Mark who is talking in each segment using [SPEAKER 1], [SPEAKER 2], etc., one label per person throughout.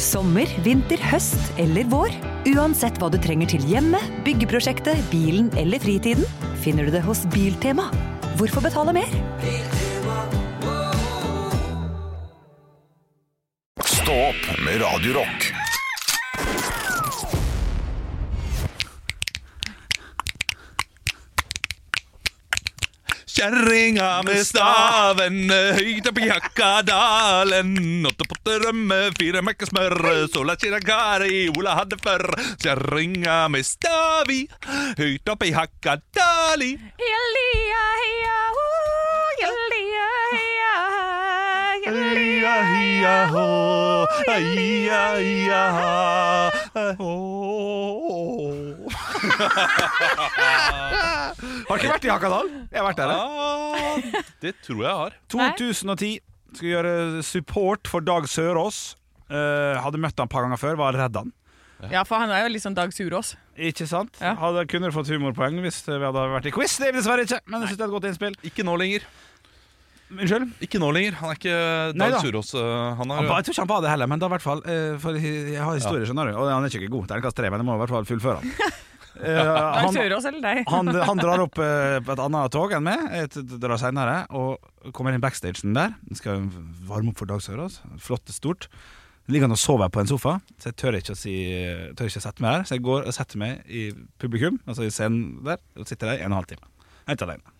[SPEAKER 1] Sommer, vinter, høst eller vår. Uansett hva du trenger til hjemmet, byggeprosjektet, bilen eller fritiden, finner du det hos Biltema. Hvorfor betale mer?
[SPEAKER 2] Stå opp med Radio Rock.
[SPEAKER 3] Kjerringa med staven, høyt opp i Jakkadalen. Åtte potter rømme, fire mekker smør, sola chirakari, Ola hadde før. Kjerringa med stavi, høyt opp i Hakkadali.
[SPEAKER 4] Jelia, heia, ho, jelia, heia, jelia.
[SPEAKER 3] Ia, ia, hå, ia, ia, ha, hå.
[SPEAKER 5] Har ikke vært i Hakadal. Jeg har vært der. jeg.
[SPEAKER 3] Ah, det tror jeg har.
[SPEAKER 5] 2010 skulle gjøre support for Dag Sørås. Eh, hadde møtt han et par ganger før, var redd han.
[SPEAKER 4] Ja, for han er jo litt sånn Dag Surås.
[SPEAKER 5] Ikke sant?
[SPEAKER 4] Ja.
[SPEAKER 5] Hadde, kunne du fått humorpoeng hvis vi hadde vært i quiz? Det er vi dessverre ikke, men jeg synes det er et godt innspill.
[SPEAKER 3] Ikke nå lenger.
[SPEAKER 5] Unnskyld?
[SPEAKER 3] Ikke nå lenger. Han er ikke
[SPEAKER 5] Nei
[SPEAKER 3] Dag
[SPEAKER 5] da.
[SPEAKER 3] Surås. øh, Han
[SPEAKER 5] Han,
[SPEAKER 3] er
[SPEAKER 5] ba- jeg tror ikke han ba det heller, men da i hvert fall eh, For jeg har historier, skjønner du. Og han er ikke god. Terningkast tre, men jeg må i hvert fall fullføre han. Eh,
[SPEAKER 4] Dag
[SPEAKER 5] han,
[SPEAKER 4] Surås eller deg?
[SPEAKER 5] han, han drar opp eh, på et annet tog enn meg, et drar senere, og kommer inn i backstagen der. Skal varme opp for Dag Sørås. Flott, stort. Ligger han og sover på en sofa, så jeg tør ikke å, si, tør ikke å sette meg der. Så jeg går og setter meg i publikum, altså i scenen der, og sitter der i en og en halv time. Helt alene.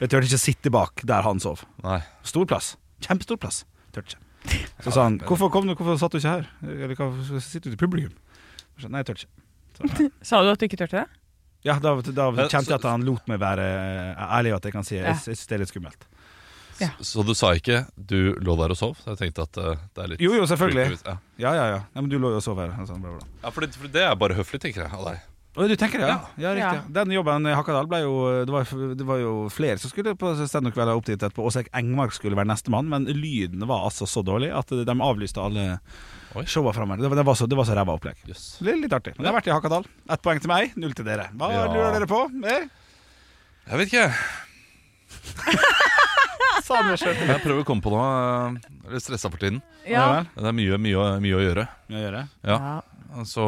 [SPEAKER 5] Jeg tør ikke å sitte bak der han sov.
[SPEAKER 3] Nei.
[SPEAKER 5] Stor plass. Kjempestor plass. Tørte ikke. Så sa han 'Hvorfor kom du, hvorfor satt du ikke her?' Eller hva, sitter du til publikum? Så, Nei, jeg tørte ikke.
[SPEAKER 4] Sa du at du ikke tørte det?
[SPEAKER 5] Ja, da, da kjente jeg at han lot meg være eh, ærlig, og at jeg kan si jeg,
[SPEAKER 4] Ja.
[SPEAKER 5] jeg synes det er litt skummelt.
[SPEAKER 3] Så du sa ikke 'du lå der og sov'? Så jeg tenkte at øh, det er litt
[SPEAKER 5] Jo, jo, selvfølgelig.
[SPEAKER 3] Ja.
[SPEAKER 5] Ja, ja, ja. ja men du lå jo og sov her. og Sånn, bla, bla.
[SPEAKER 3] Ja, for det, for det er bare høflig, tenker jeg, av deg.
[SPEAKER 5] Å, du tenker det, ja? Ja, riktig.
[SPEAKER 4] Ja.
[SPEAKER 5] Den jobben i Hakadal ble jo eh, Det var, det var jo flere som skulle på standup-kvelder opp dit etterpå. Åsek Engmark skulle være nestemann, men lyden var altså så dårlig at de avlyste alle
[SPEAKER 3] Oi.
[SPEAKER 5] showa framover. Det, var- det var så, det var så ræva opplegg.
[SPEAKER 3] Jøss.
[SPEAKER 5] Så Det er litt artig. Men det har vært i Hakadal. Ett poeng til meg, null til dere. Hva
[SPEAKER 3] Ja.
[SPEAKER 5] lurer dere på? Eh?
[SPEAKER 3] Jeg vet ikke. Jeg prøver å komme på noe. Jeg er litt stressa for tiden.
[SPEAKER 5] Ja.
[SPEAKER 3] Det er mye, mye, mye å gjøre.
[SPEAKER 5] Mye å gjøre.
[SPEAKER 3] Ja. Så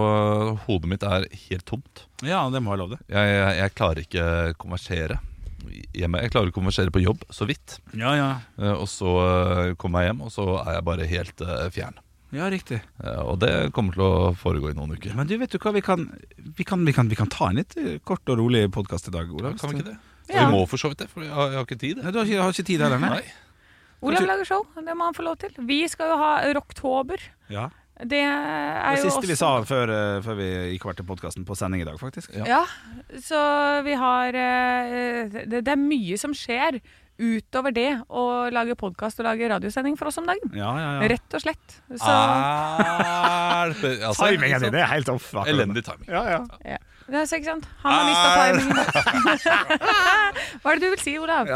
[SPEAKER 3] hodet mitt er helt tomt.
[SPEAKER 5] Ja, det må jeg love det.
[SPEAKER 3] Jeg, jeg, jeg klarer ikke konversere hjemme. Jeg klarer å konversere på jobb, så vidt.
[SPEAKER 5] Ja, ja.
[SPEAKER 3] Eh, Og så eh, kommer jeg hjem, og så er jeg bare helt eh, fjern.
[SPEAKER 5] Ja, riktig.
[SPEAKER 3] Eh, Og det kommer til å foregå i noen uker.
[SPEAKER 5] Men du, vet du hva? Vi kan, vi kan, vi kan, vi kan ta en litt eh, kort og rolig podkast i dag, Olav.
[SPEAKER 3] Kan vi ikke det?
[SPEAKER 4] Ja.
[SPEAKER 3] Vi må for så vidt det, for jeg har, jeg har ikke tid.
[SPEAKER 5] Nei, du har ikke, har ikke tid heller, nei?
[SPEAKER 3] Nei.
[SPEAKER 4] Olav lager show, det må han få lov til. Vi skal jo ha Rocktober.
[SPEAKER 5] Ja.
[SPEAKER 4] Det er
[SPEAKER 5] Det
[SPEAKER 4] jo
[SPEAKER 5] siste vi
[SPEAKER 4] også-
[SPEAKER 5] sa før, eh, før vi gikk hvert til podkasten på sending i dag, faktisk.
[SPEAKER 3] Ja.
[SPEAKER 4] Ja, så vi har eh, det, det er mye som skjer utover det å lage podkast og lage radiosending for oss om dagen.
[SPEAKER 5] Ja, ja, Ah. ja.
[SPEAKER 4] Rett og slett. Så
[SPEAKER 3] Er det altså,
[SPEAKER 5] Timingen
[SPEAKER 4] liksom.
[SPEAKER 5] din er helt off. akkurat.
[SPEAKER 3] Elendig timing.
[SPEAKER 5] Ja, ja.
[SPEAKER 4] Det er så ikke sant? Han har
[SPEAKER 5] Ah.
[SPEAKER 4] mista timingen. Hva er det du vil si, Olav?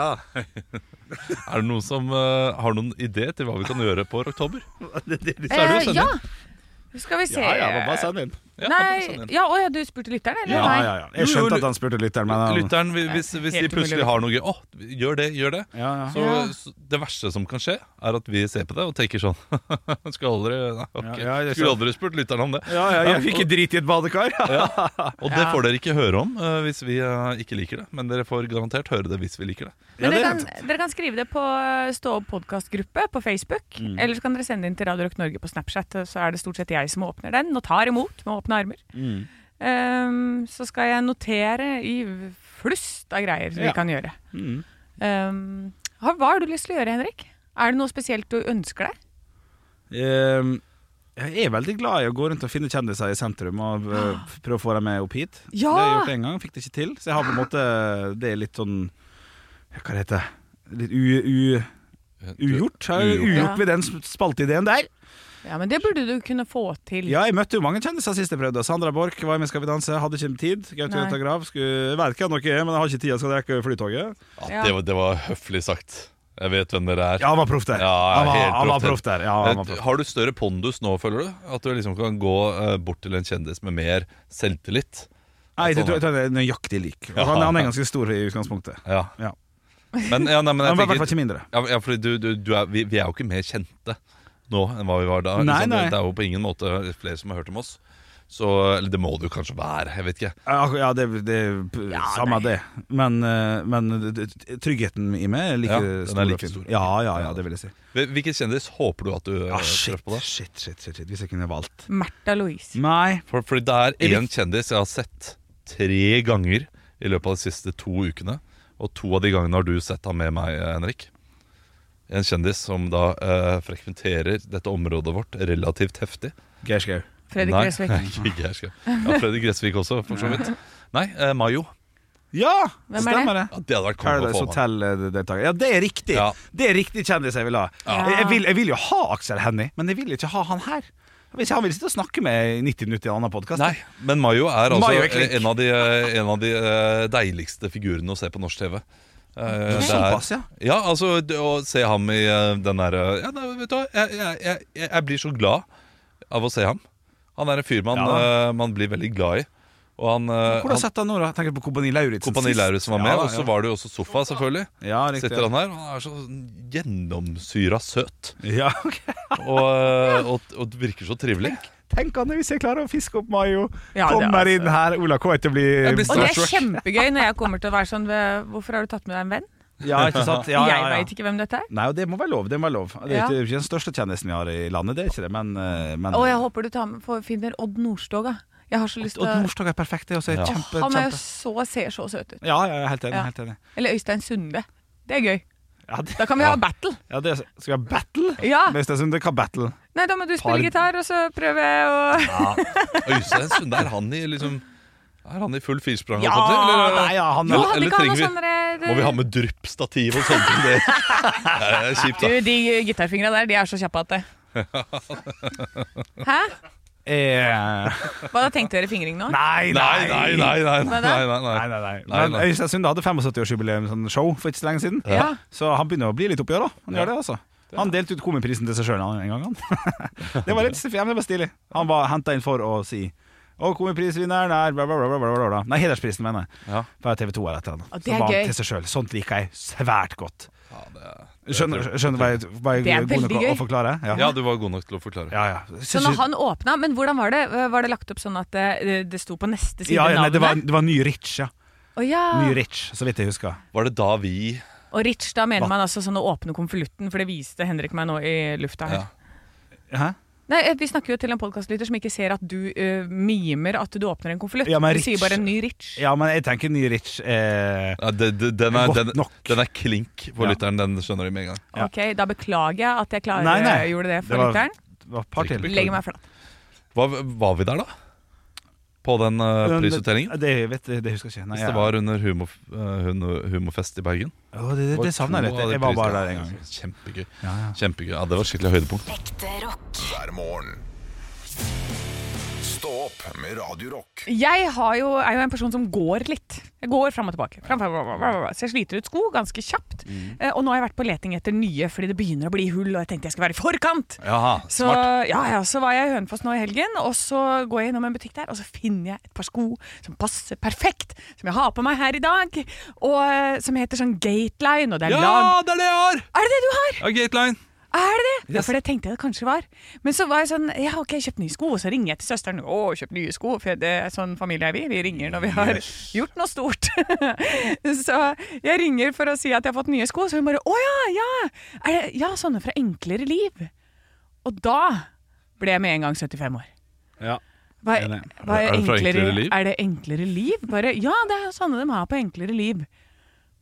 [SPEAKER 3] Er det noen som eh, har noen idé til hva vi kan gjøre på oktober?
[SPEAKER 5] ja,
[SPEAKER 3] så er det jo
[SPEAKER 4] Eh,
[SPEAKER 3] sending.
[SPEAKER 4] ja. Skal vi se
[SPEAKER 5] ja, bare bare send inn.
[SPEAKER 4] Nei, ja, å, ja, du spurte lytteren, eller?
[SPEAKER 5] Ja,
[SPEAKER 4] Nei.
[SPEAKER 5] ja, ja. Jeg skjønte at han spurte lytteren, men um, han-
[SPEAKER 3] Lytteren, vi- hvis, hvis de
[SPEAKER 4] helt umulig.
[SPEAKER 3] plutselig har noe gøy Å, gjør det, gjør det.
[SPEAKER 5] ja, ja.
[SPEAKER 3] Så,
[SPEAKER 4] Ja.
[SPEAKER 3] så Det verste som kan skje, er at vi ser på det og tenker sånn Skulle aldri, nei, ok.
[SPEAKER 5] Ja, ja, jeg
[SPEAKER 3] Skulle aldri spurt lytteren om det.
[SPEAKER 5] Ja, ja, jeg fikk ikke drit i et badekar.
[SPEAKER 3] Og det får dere ikke høre om eh, hvis vi eh, ikke liker det. Men dere får garantert høre det hvis vi liker det.
[SPEAKER 5] Ja, det
[SPEAKER 4] Men
[SPEAKER 5] er
[SPEAKER 4] dere, kan, dere kan skrive det på eh, Stå opp podkastgruppe på Facebook.
[SPEAKER 5] Mm.
[SPEAKER 4] Eller så kan dere sende inn til Radio Rock Norge på Snapchat, så er det stort sett jeg som åpner den og tar imot med åpne armer.
[SPEAKER 5] Mm.
[SPEAKER 4] Um, så skal jeg notere i flust av greier vi
[SPEAKER 5] Ja.
[SPEAKER 4] kan gjøre.
[SPEAKER 3] Mm.
[SPEAKER 4] Um, har- hva har du lyst til å gjøre, Henrik? Er det noe spesielt du ønsker deg?
[SPEAKER 5] Ehm, Jeg er veldig glad i å gå rundt og finne kjendiser i sentrum og øh, prøve å få dem med opp hit.
[SPEAKER 4] Ja!
[SPEAKER 5] Det har jeg gjort en gang, fikk det ikke til. Så jeg har på en måte Det er litt sånn Hva det heter det? Litt u, u, ugjort? Har jeg
[SPEAKER 3] Ugjort,
[SPEAKER 4] ja.
[SPEAKER 5] Ugjort ved den spalteideen der.
[SPEAKER 4] Ja, men Det burde du kunne få til.
[SPEAKER 5] Ja, jeg møtte jo mange kjendiser sist jeg prøvde. Sandra Borch var med i Skal vi danse, hadde ikke tid. Gaute
[SPEAKER 4] Nei.
[SPEAKER 5] Grøtta Grav skulle Jeg vet ikke hvem dere er, men jeg har ikke tid, jeg skal rekke flytoget.
[SPEAKER 3] Ja,
[SPEAKER 4] Ja.
[SPEAKER 3] Det, var, det var høflig sagt. Jeg vet hvem dere er.
[SPEAKER 5] Ja, han var proff der.
[SPEAKER 3] Ja,
[SPEAKER 5] han var,
[SPEAKER 3] helt
[SPEAKER 5] han var
[SPEAKER 3] proff der.
[SPEAKER 5] proff der. Ja, han var proff.
[SPEAKER 3] Eh, Har du større pondus nå, føler du? At du liksom kan gå eh, bort til en kjendis med mer selvtillit?
[SPEAKER 5] Nei, jeg tror jeg tror han er nøyaktig lik.
[SPEAKER 3] Ja.
[SPEAKER 5] Han, han er ganske stor i utgangspunktet.
[SPEAKER 3] Ja.
[SPEAKER 5] Ja.
[SPEAKER 3] Men, ja, nei, men
[SPEAKER 5] Han
[SPEAKER 3] jeg
[SPEAKER 5] var i hvert
[SPEAKER 3] tenker
[SPEAKER 5] fall ikke mindre.
[SPEAKER 3] ja, ja, fordi du, du, du er, vi, vi er jo ikke mer kjente nå enn hva vi var da.
[SPEAKER 5] Nei,
[SPEAKER 3] liksom,
[SPEAKER 5] nei.
[SPEAKER 3] Det, det er jo på ingen måte flere som har hørt om oss. Så eller det må det jo kanskje være. Jeg vet ikke.
[SPEAKER 5] Ja, ak- ja, det, det samme det. Men, eh, men d- d- tryggheten i meg er like
[SPEAKER 3] Ja, den er
[SPEAKER 5] stor. og
[SPEAKER 3] like
[SPEAKER 5] fin.
[SPEAKER 3] stor.
[SPEAKER 5] Ja, ja, ja, det vil jeg si.
[SPEAKER 3] Hvil- Hvilken kjendis håper du at du
[SPEAKER 5] Ja,
[SPEAKER 3] ah,
[SPEAKER 5] shit,
[SPEAKER 3] treffer på? da?
[SPEAKER 5] shit, shit, shit, shit, hvis jeg kunne valgt.
[SPEAKER 4] Märtha Louise.
[SPEAKER 5] Nei.
[SPEAKER 3] For, fordi det er én kjendis jeg har sett tre ganger i løpet av de siste to ukene. Og to av de gangene har du sett ham med meg, eh, Henrik. En kjendis som da eh, frekventerer dette området vårt relativt heftig.
[SPEAKER 5] Geir Skau.
[SPEAKER 4] Fredrik
[SPEAKER 3] Nei,
[SPEAKER 4] Gressvik.
[SPEAKER 3] ikke Geir Skau. Ja, Fredrik Gressvik også, for så vidt. Nei, eh, Mayo.
[SPEAKER 5] Ja,
[SPEAKER 4] Hvem er
[SPEAKER 5] stemmer det.
[SPEAKER 3] Ja, det hadde vært konge å
[SPEAKER 5] Paradise
[SPEAKER 3] få med.
[SPEAKER 5] Hotel-deltaker. Ja, det er riktig!
[SPEAKER 3] Ja.
[SPEAKER 5] Det er riktig kjendis jeg vil ha.
[SPEAKER 4] Ja.
[SPEAKER 5] Jeg, jeg, vil, jeg vil jo ha Aksel Hennie, men jeg vil ikke ha han her. Hvis han vil sitte og snakke med i 90 minutter i en annen podkast.
[SPEAKER 3] Nei, men Mayo er altså
[SPEAKER 5] Mayo er klink.
[SPEAKER 3] en av de, eh, en av de eh, deiligste figurene å se på norsk TV. Eh, det er-
[SPEAKER 5] Såpass, ja.
[SPEAKER 3] Ja, altså det å se ham i eh, den der eh, ja, nei, Vet du hva, jeg, jeg, jeg, jeg blir så glad av å se ham. Han er en fyr man,
[SPEAKER 5] Ja.
[SPEAKER 3] eh, man blir veldig glad i. Og han, eh,
[SPEAKER 5] Hvordan
[SPEAKER 3] han
[SPEAKER 5] satt han nå, da? Tenker du på Kompani Lauritzen?
[SPEAKER 3] Kompani Lauritzen var med,
[SPEAKER 5] ja,
[SPEAKER 3] og så var det jo også Sofa, selvfølgelig.
[SPEAKER 5] Ja, riktig.
[SPEAKER 3] Sitter han her, og han er så gjennomsyra søt.
[SPEAKER 5] Ja, ok.
[SPEAKER 3] Og, eh, og, og virker så trivelig.
[SPEAKER 5] Tenk Anne, hvis jeg klarer å fiske opp Mayo.
[SPEAKER 4] Ja, det er
[SPEAKER 5] Kommer
[SPEAKER 4] altså-
[SPEAKER 5] inn her. Ola K. er til å bli
[SPEAKER 3] Jeg blir
[SPEAKER 4] Og det er
[SPEAKER 3] Starstruck.
[SPEAKER 4] kjempegøy når jeg kommer til å være sånn ved, Hvorfor har du tatt med deg en venn?
[SPEAKER 5] Ja, ikke sant? Ja, ja,
[SPEAKER 4] Jeg
[SPEAKER 5] ja.
[SPEAKER 4] veit ikke hvem dette er.
[SPEAKER 5] Nei, og det må være lov. Det må være lov. Det er
[SPEAKER 4] Ja.
[SPEAKER 5] ikke, ikke den største kjendisen vi har i landet, det er ikke det, men, eh, men
[SPEAKER 4] Å, jeg håper du tar med, får- finner Odd Nordstoga. Jeg har så lyst til
[SPEAKER 5] Og
[SPEAKER 4] å
[SPEAKER 5] Nordstoga er perfekt, det er også
[SPEAKER 3] Ja.
[SPEAKER 5] kjempe,
[SPEAKER 4] Han er jo
[SPEAKER 5] kjempe.
[SPEAKER 4] så, ser så søt ut.
[SPEAKER 5] Ja, ja, jeg er helt enig.
[SPEAKER 4] Ja.
[SPEAKER 5] Helt enig.
[SPEAKER 4] Eller Øystein Sunde. Det er gøy.
[SPEAKER 5] Ja, det,
[SPEAKER 4] Da kan vi ha battle.
[SPEAKER 5] ja, det, skal vi ha battle?
[SPEAKER 4] Ja.
[SPEAKER 5] Hvis det er sånn, det kan battle.
[SPEAKER 4] Nei, da må du
[SPEAKER 5] Tar-
[SPEAKER 4] spille gitar, og så prøver jeg å
[SPEAKER 3] Øystein Sunde, er han i liksom Er han i full firsprang?
[SPEAKER 5] Ja,
[SPEAKER 3] holdt jeg på å si, eller-
[SPEAKER 5] nei, ja, han
[SPEAKER 4] Jo,
[SPEAKER 5] er
[SPEAKER 3] Eller-
[SPEAKER 4] hadde
[SPEAKER 3] eller
[SPEAKER 4] ikke han noe
[SPEAKER 3] trenger
[SPEAKER 4] sånn derre-
[SPEAKER 3] Må vi ha med dryppstativ og sånt? som Det Det er kjipt,
[SPEAKER 4] eh,
[SPEAKER 3] da.
[SPEAKER 4] Du, de gitarfingra der, de er så kjappe at det Hæ?
[SPEAKER 5] eh,
[SPEAKER 4] Hva da tenkte dere fingring nå?
[SPEAKER 5] Nei,
[SPEAKER 3] Nei,
[SPEAKER 5] nei!
[SPEAKER 3] nei, nei. nei, nei, nei, nei.
[SPEAKER 5] Nei, nei, nei.
[SPEAKER 3] Nei,
[SPEAKER 5] Men
[SPEAKER 3] nei.
[SPEAKER 5] Øystein Sunde hadde 75-årsjubileum sånn show for ikke så lenge siden.
[SPEAKER 4] Ja.
[SPEAKER 5] Så han begynner å bli litt oppi år, da. Han gjør det, altså. Han delte ut komiprisen til seg sjøl en gang, han. det var litt ja, men det var stilig. Han var henta inn for å si Å, komiprisvinneren er bla, bla, bla, bla, bla, bla. Nei, hedersprisen, mener jeg.
[SPEAKER 3] Ja.
[SPEAKER 5] Fra TV 2 eller et eller
[SPEAKER 4] Å,
[SPEAKER 5] annet.
[SPEAKER 4] det er
[SPEAKER 5] Så var
[SPEAKER 4] gøy.
[SPEAKER 5] han til seg sjøl. Sånt liker jeg svært godt.
[SPEAKER 3] Ja, det er-
[SPEAKER 5] Skjønner, skjønner hva jeg, hva jeg
[SPEAKER 4] Det er
[SPEAKER 5] god nok
[SPEAKER 4] veldig
[SPEAKER 5] å-
[SPEAKER 4] gøy.
[SPEAKER 5] å forklare?
[SPEAKER 3] ja, du var god nok til å forklare.
[SPEAKER 5] ja. ja.
[SPEAKER 4] Så når han åpna, men hvordan var det? Var det lagt opp sånn at det, det sto på neste side
[SPEAKER 5] ja, ja, nei, det, var,
[SPEAKER 4] navnet?
[SPEAKER 5] det var ny Rich, ja.
[SPEAKER 4] Å ja.
[SPEAKER 5] Ny Rich, så vidt jeg husker.
[SPEAKER 3] Var det da vi
[SPEAKER 4] Og Rich, da mener man altså sånn å åpne konvolutten, for det viste Henrik meg nå i lufta her.
[SPEAKER 3] Ja.
[SPEAKER 5] Hæ?
[SPEAKER 4] Nei, eh, Vi snakker jo til en podkastlytter som ikke ser at du eh, mimer at du åpner en konvolutt.
[SPEAKER 5] Ja, men
[SPEAKER 4] du
[SPEAKER 5] Rich-
[SPEAKER 4] sier bare 'ny Rich'.
[SPEAKER 5] Ja, men jeg tenker ny Rich eh,
[SPEAKER 3] ja, det, det, den, er,
[SPEAKER 5] Godt
[SPEAKER 3] den,
[SPEAKER 5] nok.
[SPEAKER 3] den er klink på
[SPEAKER 5] Ja.
[SPEAKER 3] lytteren, den skjønner de med en gang.
[SPEAKER 5] Ja.
[SPEAKER 4] Ok, Da beklager jeg at jeg klarer,
[SPEAKER 5] Nei, nei.
[SPEAKER 4] gjorde det
[SPEAKER 5] Det
[SPEAKER 4] for
[SPEAKER 5] var-
[SPEAKER 4] lytteren.
[SPEAKER 5] det var et par til.
[SPEAKER 3] Beklager.
[SPEAKER 4] Legger meg flat.
[SPEAKER 3] Var, var vi der, da? På den eh, prisutdelingen?
[SPEAKER 5] Det, vet, jeg- det husker jeg ikke. Nei,
[SPEAKER 3] Hvis det
[SPEAKER 5] ja.
[SPEAKER 3] var under humor, eh, humo- Humorfest i Bergen.
[SPEAKER 5] Å, det, det, det savner jeg
[SPEAKER 3] To
[SPEAKER 5] litt.
[SPEAKER 3] av de
[SPEAKER 5] Jeg var bare der en
[SPEAKER 3] prisene.
[SPEAKER 5] gang.
[SPEAKER 3] Kjempegøy.
[SPEAKER 5] Ja, ja.
[SPEAKER 3] Kjempegøy. Ja, det var skikkelig høydepunkt.
[SPEAKER 2] hver morgen. Stå opp med Radio Rock.
[SPEAKER 4] Jeg har jo, er jo en person som går litt. Jeg går fram og tilbake. Fram, fram, fram, fram, fram. Så jeg sliter ut sko ganske kjapt.
[SPEAKER 3] Mm.
[SPEAKER 4] Eh, og nå har jeg vært på leting etter nye, fordi det begynner å bli hull, og jeg tenkte jeg skulle være i forkant.
[SPEAKER 3] Jaha,
[SPEAKER 4] Så,
[SPEAKER 3] smart.
[SPEAKER 4] ja, ja, så var jeg i Hønefoss nå i helgen, og så går jeg innom en butikk der, og så finner jeg et par sko som passer perfekt, som jeg har på meg her i dag, og eh, som heter sånn Gateline, og det er lag...
[SPEAKER 3] Ja, det er det jeg har!
[SPEAKER 4] Er det det du har?
[SPEAKER 3] Ja, Gateline.
[SPEAKER 4] Er det det? Ja,
[SPEAKER 3] Yes.
[SPEAKER 4] for det tenkte jeg det kanskje var. Men så var jeg sånn, ja ok, jeg kjøpte nye sko, og så ringer jeg til søsteren. Å, kjøp nye sko, for det er sånn familie er vi. Vi ringer når vi har gjort noe stort. så jeg ringer for å si at jeg har fått nye sko, så hun bare, å ja, ja. Er det, ja, sånne fra enklere liv. Og da ble jeg med en gang 75 år.
[SPEAKER 5] Ja.
[SPEAKER 4] Hva,
[SPEAKER 5] Enig.
[SPEAKER 4] hva
[SPEAKER 3] Er
[SPEAKER 4] er,
[SPEAKER 3] det fra
[SPEAKER 4] enklere,
[SPEAKER 3] Enklere liv?
[SPEAKER 4] Er det enklere liv? Bare, ja, det er jo sånne de har på enklere liv.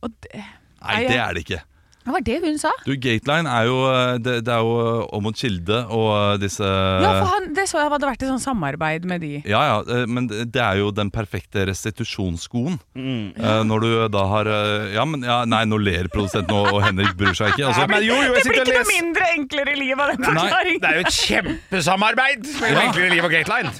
[SPEAKER 4] Og det,
[SPEAKER 3] Nei, det er det ikke.
[SPEAKER 4] hva var det hun sa?
[SPEAKER 3] Du, Gateline er jo eh, Det, det er jo eh, Åmot Kilde og eh, disse
[SPEAKER 4] Ja, for han, det så jeg hadde vært i sånn samarbeid med de.
[SPEAKER 3] Ja, ja, eh, men det det er jo den perfekte restitusjonsskoen.
[SPEAKER 5] Mm.
[SPEAKER 3] Eh, Når du da har eh, Ja, men ja, Nei, nå ler produsenten, og og Henrik bryr seg ikke.
[SPEAKER 5] Ja,
[SPEAKER 3] Altså,
[SPEAKER 5] men jo, jo, jeg
[SPEAKER 4] Det blir
[SPEAKER 5] sitter og
[SPEAKER 4] ikke noe
[SPEAKER 5] leser.
[SPEAKER 4] mindre enklere liv av den
[SPEAKER 3] Nei,
[SPEAKER 5] Det
[SPEAKER 4] forklaringen.
[SPEAKER 5] er jo et kjempesamarbeid mellom
[SPEAKER 3] Ja.
[SPEAKER 5] Enklere liv og Gateline.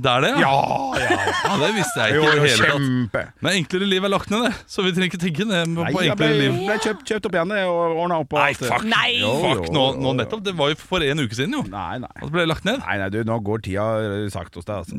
[SPEAKER 3] det er det, ja.
[SPEAKER 5] Ja, ja.
[SPEAKER 3] ja! Det visste jeg
[SPEAKER 5] Jo,
[SPEAKER 3] ikke i
[SPEAKER 5] jo,
[SPEAKER 3] det hele tatt.
[SPEAKER 5] kjempe.
[SPEAKER 3] Men enklere liv er lagt ned, det. Så vi trenger ikke tenke det
[SPEAKER 5] Nei,
[SPEAKER 3] på
[SPEAKER 5] jeg ble,
[SPEAKER 3] enklere liv.
[SPEAKER 5] ble kjøpt, kjøpt opp igjen og ordna opp. Og
[SPEAKER 3] Nei,
[SPEAKER 5] alt.
[SPEAKER 3] fuck.
[SPEAKER 4] Nei.
[SPEAKER 5] Jo,
[SPEAKER 3] Fuck,
[SPEAKER 5] jo,
[SPEAKER 3] nå,
[SPEAKER 5] jo,
[SPEAKER 3] nå
[SPEAKER 5] jo.
[SPEAKER 3] nettopp. Det var jo for en uke siden, jo.
[SPEAKER 5] Nei, nei.
[SPEAKER 3] At det ble lagt ned.
[SPEAKER 5] Nei, nei, du, nå går tida eh, sakte hos deg, altså.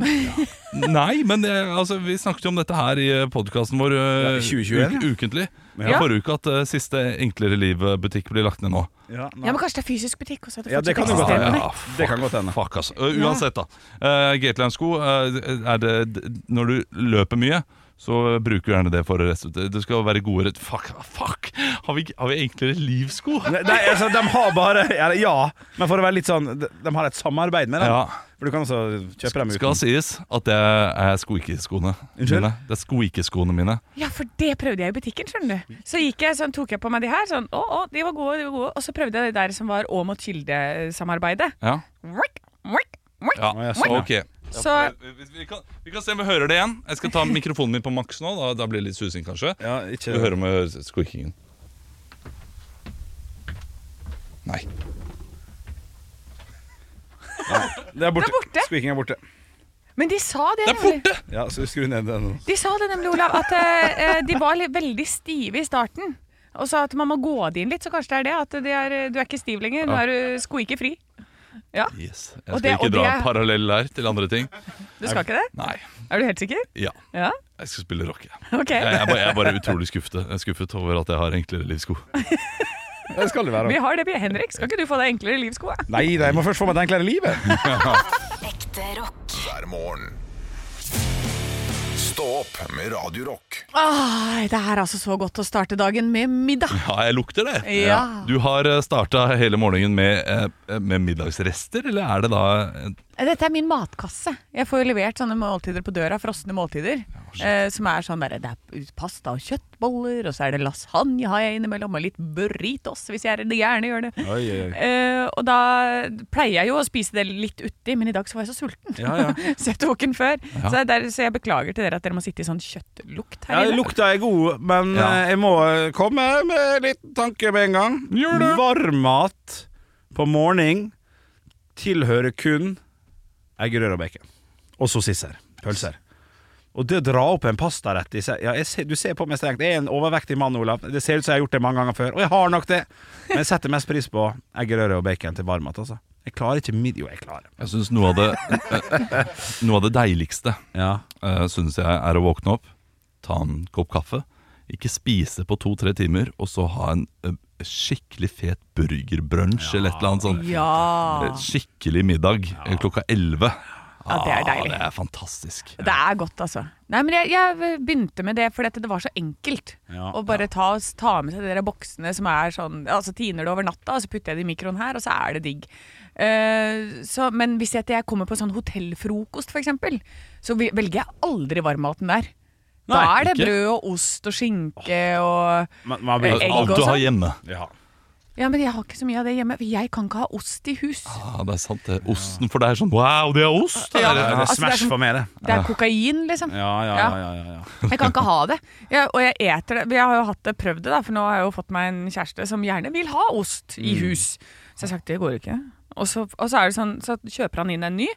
[SPEAKER 3] Nei, men det, altså, vi snakket jo om dette her i podkasten vår eh,
[SPEAKER 5] Ja, 2021,
[SPEAKER 3] uk- ukentlig.
[SPEAKER 4] Ja.
[SPEAKER 3] Forrige uke at eh, siste Enklere liv-butikk blir lagt ned nå.
[SPEAKER 6] Ja, nei.
[SPEAKER 4] Ja, men kanskje det er fysisk butikk også? At det
[SPEAKER 6] Ja, det kan
[SPEAKER 4] fortsatt
[SPEAKER 6] jo godt hende.
[SPEAKER 4] eksisterer.
[SPEAKER 6] Ja,
[SPEAKER 3] fuck.
[SPEAKER 6] det kan godt hende.
[SPEAKER 3] Fuck, altså. Uh, uansett, da. Uh, Gateland-sko, uh, er det d- Når du løper mye, så bruker du gjerne det for å reste ut. Det skal være gode rett... Fuck! ah, fuck. Har, vi, har vi enklere livsko?
[SPEAKER 6] Nei, nei, altså, de har bare eller, Ja, men for å være litt sånn De, de har et samarbeid med dem.
[SPEAKER 3] Ja.
[SPEAKER 6] For du kan altså kjøpe dem
[SPEAKER 3] Skal
[SPEAKER 6] uten.
[SPEAKER 3] sies at det er skoikeskoene
[SPEAKER 6] Unnskyld?
[SPEAKER 3] mine. Det er skoikeskoene mine.
[SPEAKER 4] Ja, for det prøvde jeg i butikken, skjønner du. Så gikk jeg, sånn, tok jeg på meg de her, sånn, å, å, de var gode, de var gode. Og så prøvde jeg de der som var å mot kildesamarbeidet.
[SPEAKER 3] Ja.
[SPEAKER 4] Mwik, mwik, mwik.
[SPEAKER 3] ja.
[SPEAKER 6] Å, ja, sånn, ja.
[SPEAKER 3] Ok.
[SPEAKER 4] Så
[SPEAKER 3] Vi, vi- vi, kan, vi kan se om vi hører det igjen. Jeg skal ta mikrofonen min på maks nå. Da, da blir det litt susing, kanskje.
[SPEAKER 6] Ja, ikke
[SPEAKER 3] Vi hører om jeg hører squeakingen. Nei.
[SPEAKER 6] Det er borte.
[SPEAKER 4] Det er borte.
[SPEAKER 6] Squeaking er borte.
[SPEAKER 4] Men de sa det,
[SPEAKER 3] Det er
[SPEAKER 4] nemlig.
[SPEAKER 3] borte!
[SPEAKER 6] Ja, så skru ned den.
[SPEAKER 4] De sa det nemlig, Olav, at eh, eh, de var litt, veldig stive i starten. Og sa at man må gå det inn litt, så kanskje det er det. At de er, eh, du er ikke stiv lenger, nå er du skoike fri. Ja,
[SPEAKER 3] Yes. Jeg skal
[SPEAKER 4] Og det-
[SPEAKER 3] ikke
[SPEAKER 4] og
[SPEAKER 3] dra
[SPEAKER 4] det-
[SPEAKER 3] en parallell der til andre ting.
[SPEAKER 4] du skal ikke det?
[SPEAKER 3] Nei.
[SPEAKER 4] Er du helt sikker?
[SPEAKER 3] Ja.
[SPEAKER 4] Ja,
[SPEAKER 3] Jeg skal spille rock. Jeg,
[SPEAKER 4] ok.
[SPEAKER 3] jeg, er, bare, jeg er bare utrolig skuffet, jeg er skuffet over at jeg har enklere livsko.
[SPEAKER 6] Det skal det være.
[SPEAKER 4] Vi har det, vi- Henrik. Skal ikke du få deg enklere livsko? da?
[SPEAKER 6] Nei da, jeg må først få meg et enklere liv. jeg.
[SPEAKER 7] Ekte rock.
[SPEAKER 2] hver morgen. Stå opp med Radio Rock.
[SPEAKER 4] Ai, det er altså så godt å starte dagen med middag.
[SPEAKER 3] Ja, jeg lukter det.
[SPEAKER 4] Ja.
[SPEAKER 3] Du har starta hele morgenen med, eh, med middagsrester, eller er det da eh,
[SPEAKER 4] Dette er min matkasse. Jeg får jo levert sånne måltider på døra, frosne måltider. eh, som er sånn derre Det er pasta og kjøttboller, og så er det lasagne har jeg innimellom, og litt burritos hvis jeg er- gjerne gjør det.
[SPEAKER 6] Oi, oi, oi.
[SPEAKER 4] Eh, og da pleier jeg jo å spise det litt uti, men i dag så var jeg så sulten.
[SPEAKER 6] Ja, ja.
[SPEAKER 4] så jeg tok den før.
[SPEAKER 3] Ja.
[SPEAKER 4] Så, det er der, så jeg beklager til dere at dere må sitte i sånn kjøttlukt her
[SPEAKER 6] Ja,
[SPEAKER 4] inne.
[SPEAKER 6] lukta er god, men
[SPEAKER 3] Ja.
[SPEAKER 6] eh, jeg må eh, komme med en liten tanke med en gang. Varmmat på morgen tilhører kun eggerøre og bacon. Og sossisser. Pølser. Og det å dra opp en pastarett i seg ja, jeg ser, Du ser på meg strengt. Jeg er en overvektig mann, Olav. Det ser ut som jeg har gjort det mange ganger før, og jeg har nok det. Men jeg setter mest pris på eggerøre og bacon til varmmat, altså. Jeg klarer ikke mid... Jo, jeg klarer.
[SPEAKER 3] Jeg syns noe av det eh, Noe av det deiligste
[SPEAKER 6] Ja.
[SPEAKER 3] uh, syns jeg er å våkne opp, ta en kopp kaffe, ikke spise på to-tre timer, og så ha en eh, skikkelig fet burgerbrunsj eller et eller annet sånt.
[SPEAKER 4] Ja.
[SPEAKER 3] Eh, Skikkelig middag eh, klokka 11.
[SPEAKER 4] Ja, det er
[SPEAKER 3] Ah,
[SPEAKER 4] deilig.
[SPEAKER 3] det er fantastisk.
[SPEAKER 4] Det er godt, altså. Nei, men jeg, jeg begynte med det fordi at det var så enkelt.
[SPEAKER 6] Ja,
[SPEAKER 4] å bare ta, ta med seg de der boksene som er sånn Altså tiner det over natta, og så putter jeg det i mikroen her, og så er det digg. Eh, så, men hvis jeg, jeg kommer på sånn hotellfrokost, f.eks., så vil- velger jeg aldri varmmaten der. da
[SPEAKER 6] Nei,
[SPEAKER 4] er det
[SPEAKER 3] ikke.
[SPEAKER 4] brød og ost og skinke og
[SPEAKER 6] Man, man blir
[SPEAKER 4] Egg
[SPEAKER 3] Alt du
[SPEAKER 4] også?
[SPEAKER 3] har hjemme.
[SPEAKER 6] Ja.
[SPEAKER 4] Ja, men jeg har ikke så mye av det hjemme. for Jeg kan ikke ha ost i hus.
[SPEAKER 3] Ja, Ah, det er sant det. Osten for deg er sånn Wow, det er ost!
[SPEAKER 6] Det
[SPEAKER 4] Ja.
[SPEAKER 6] er det er
[SPEAKER 4] Altså, det er
[SPEAKER 6] smash
[SPEAKER 4] som-
[SPEAKER 6] for meg, det.
[SPEAKER 4] Det er kokain, liksom.
[SPEAKER 6] Ja, ja, ja. ja, ja, ja.
[SPEAKER 4] Jeg kan ikke ha det. Jeg, og jeg eter det. Jeg har jo hatt det, prøvd det, da, for nå har jeg jo fått meg en kjæreste som gjerne vil ha ost i
[SPEAKER 3] Mm.
[SPEAKER 4] hus. Så jeg har sagt det går jo ikke. Og så, og så er det sånn, så kjøper han inn en ny,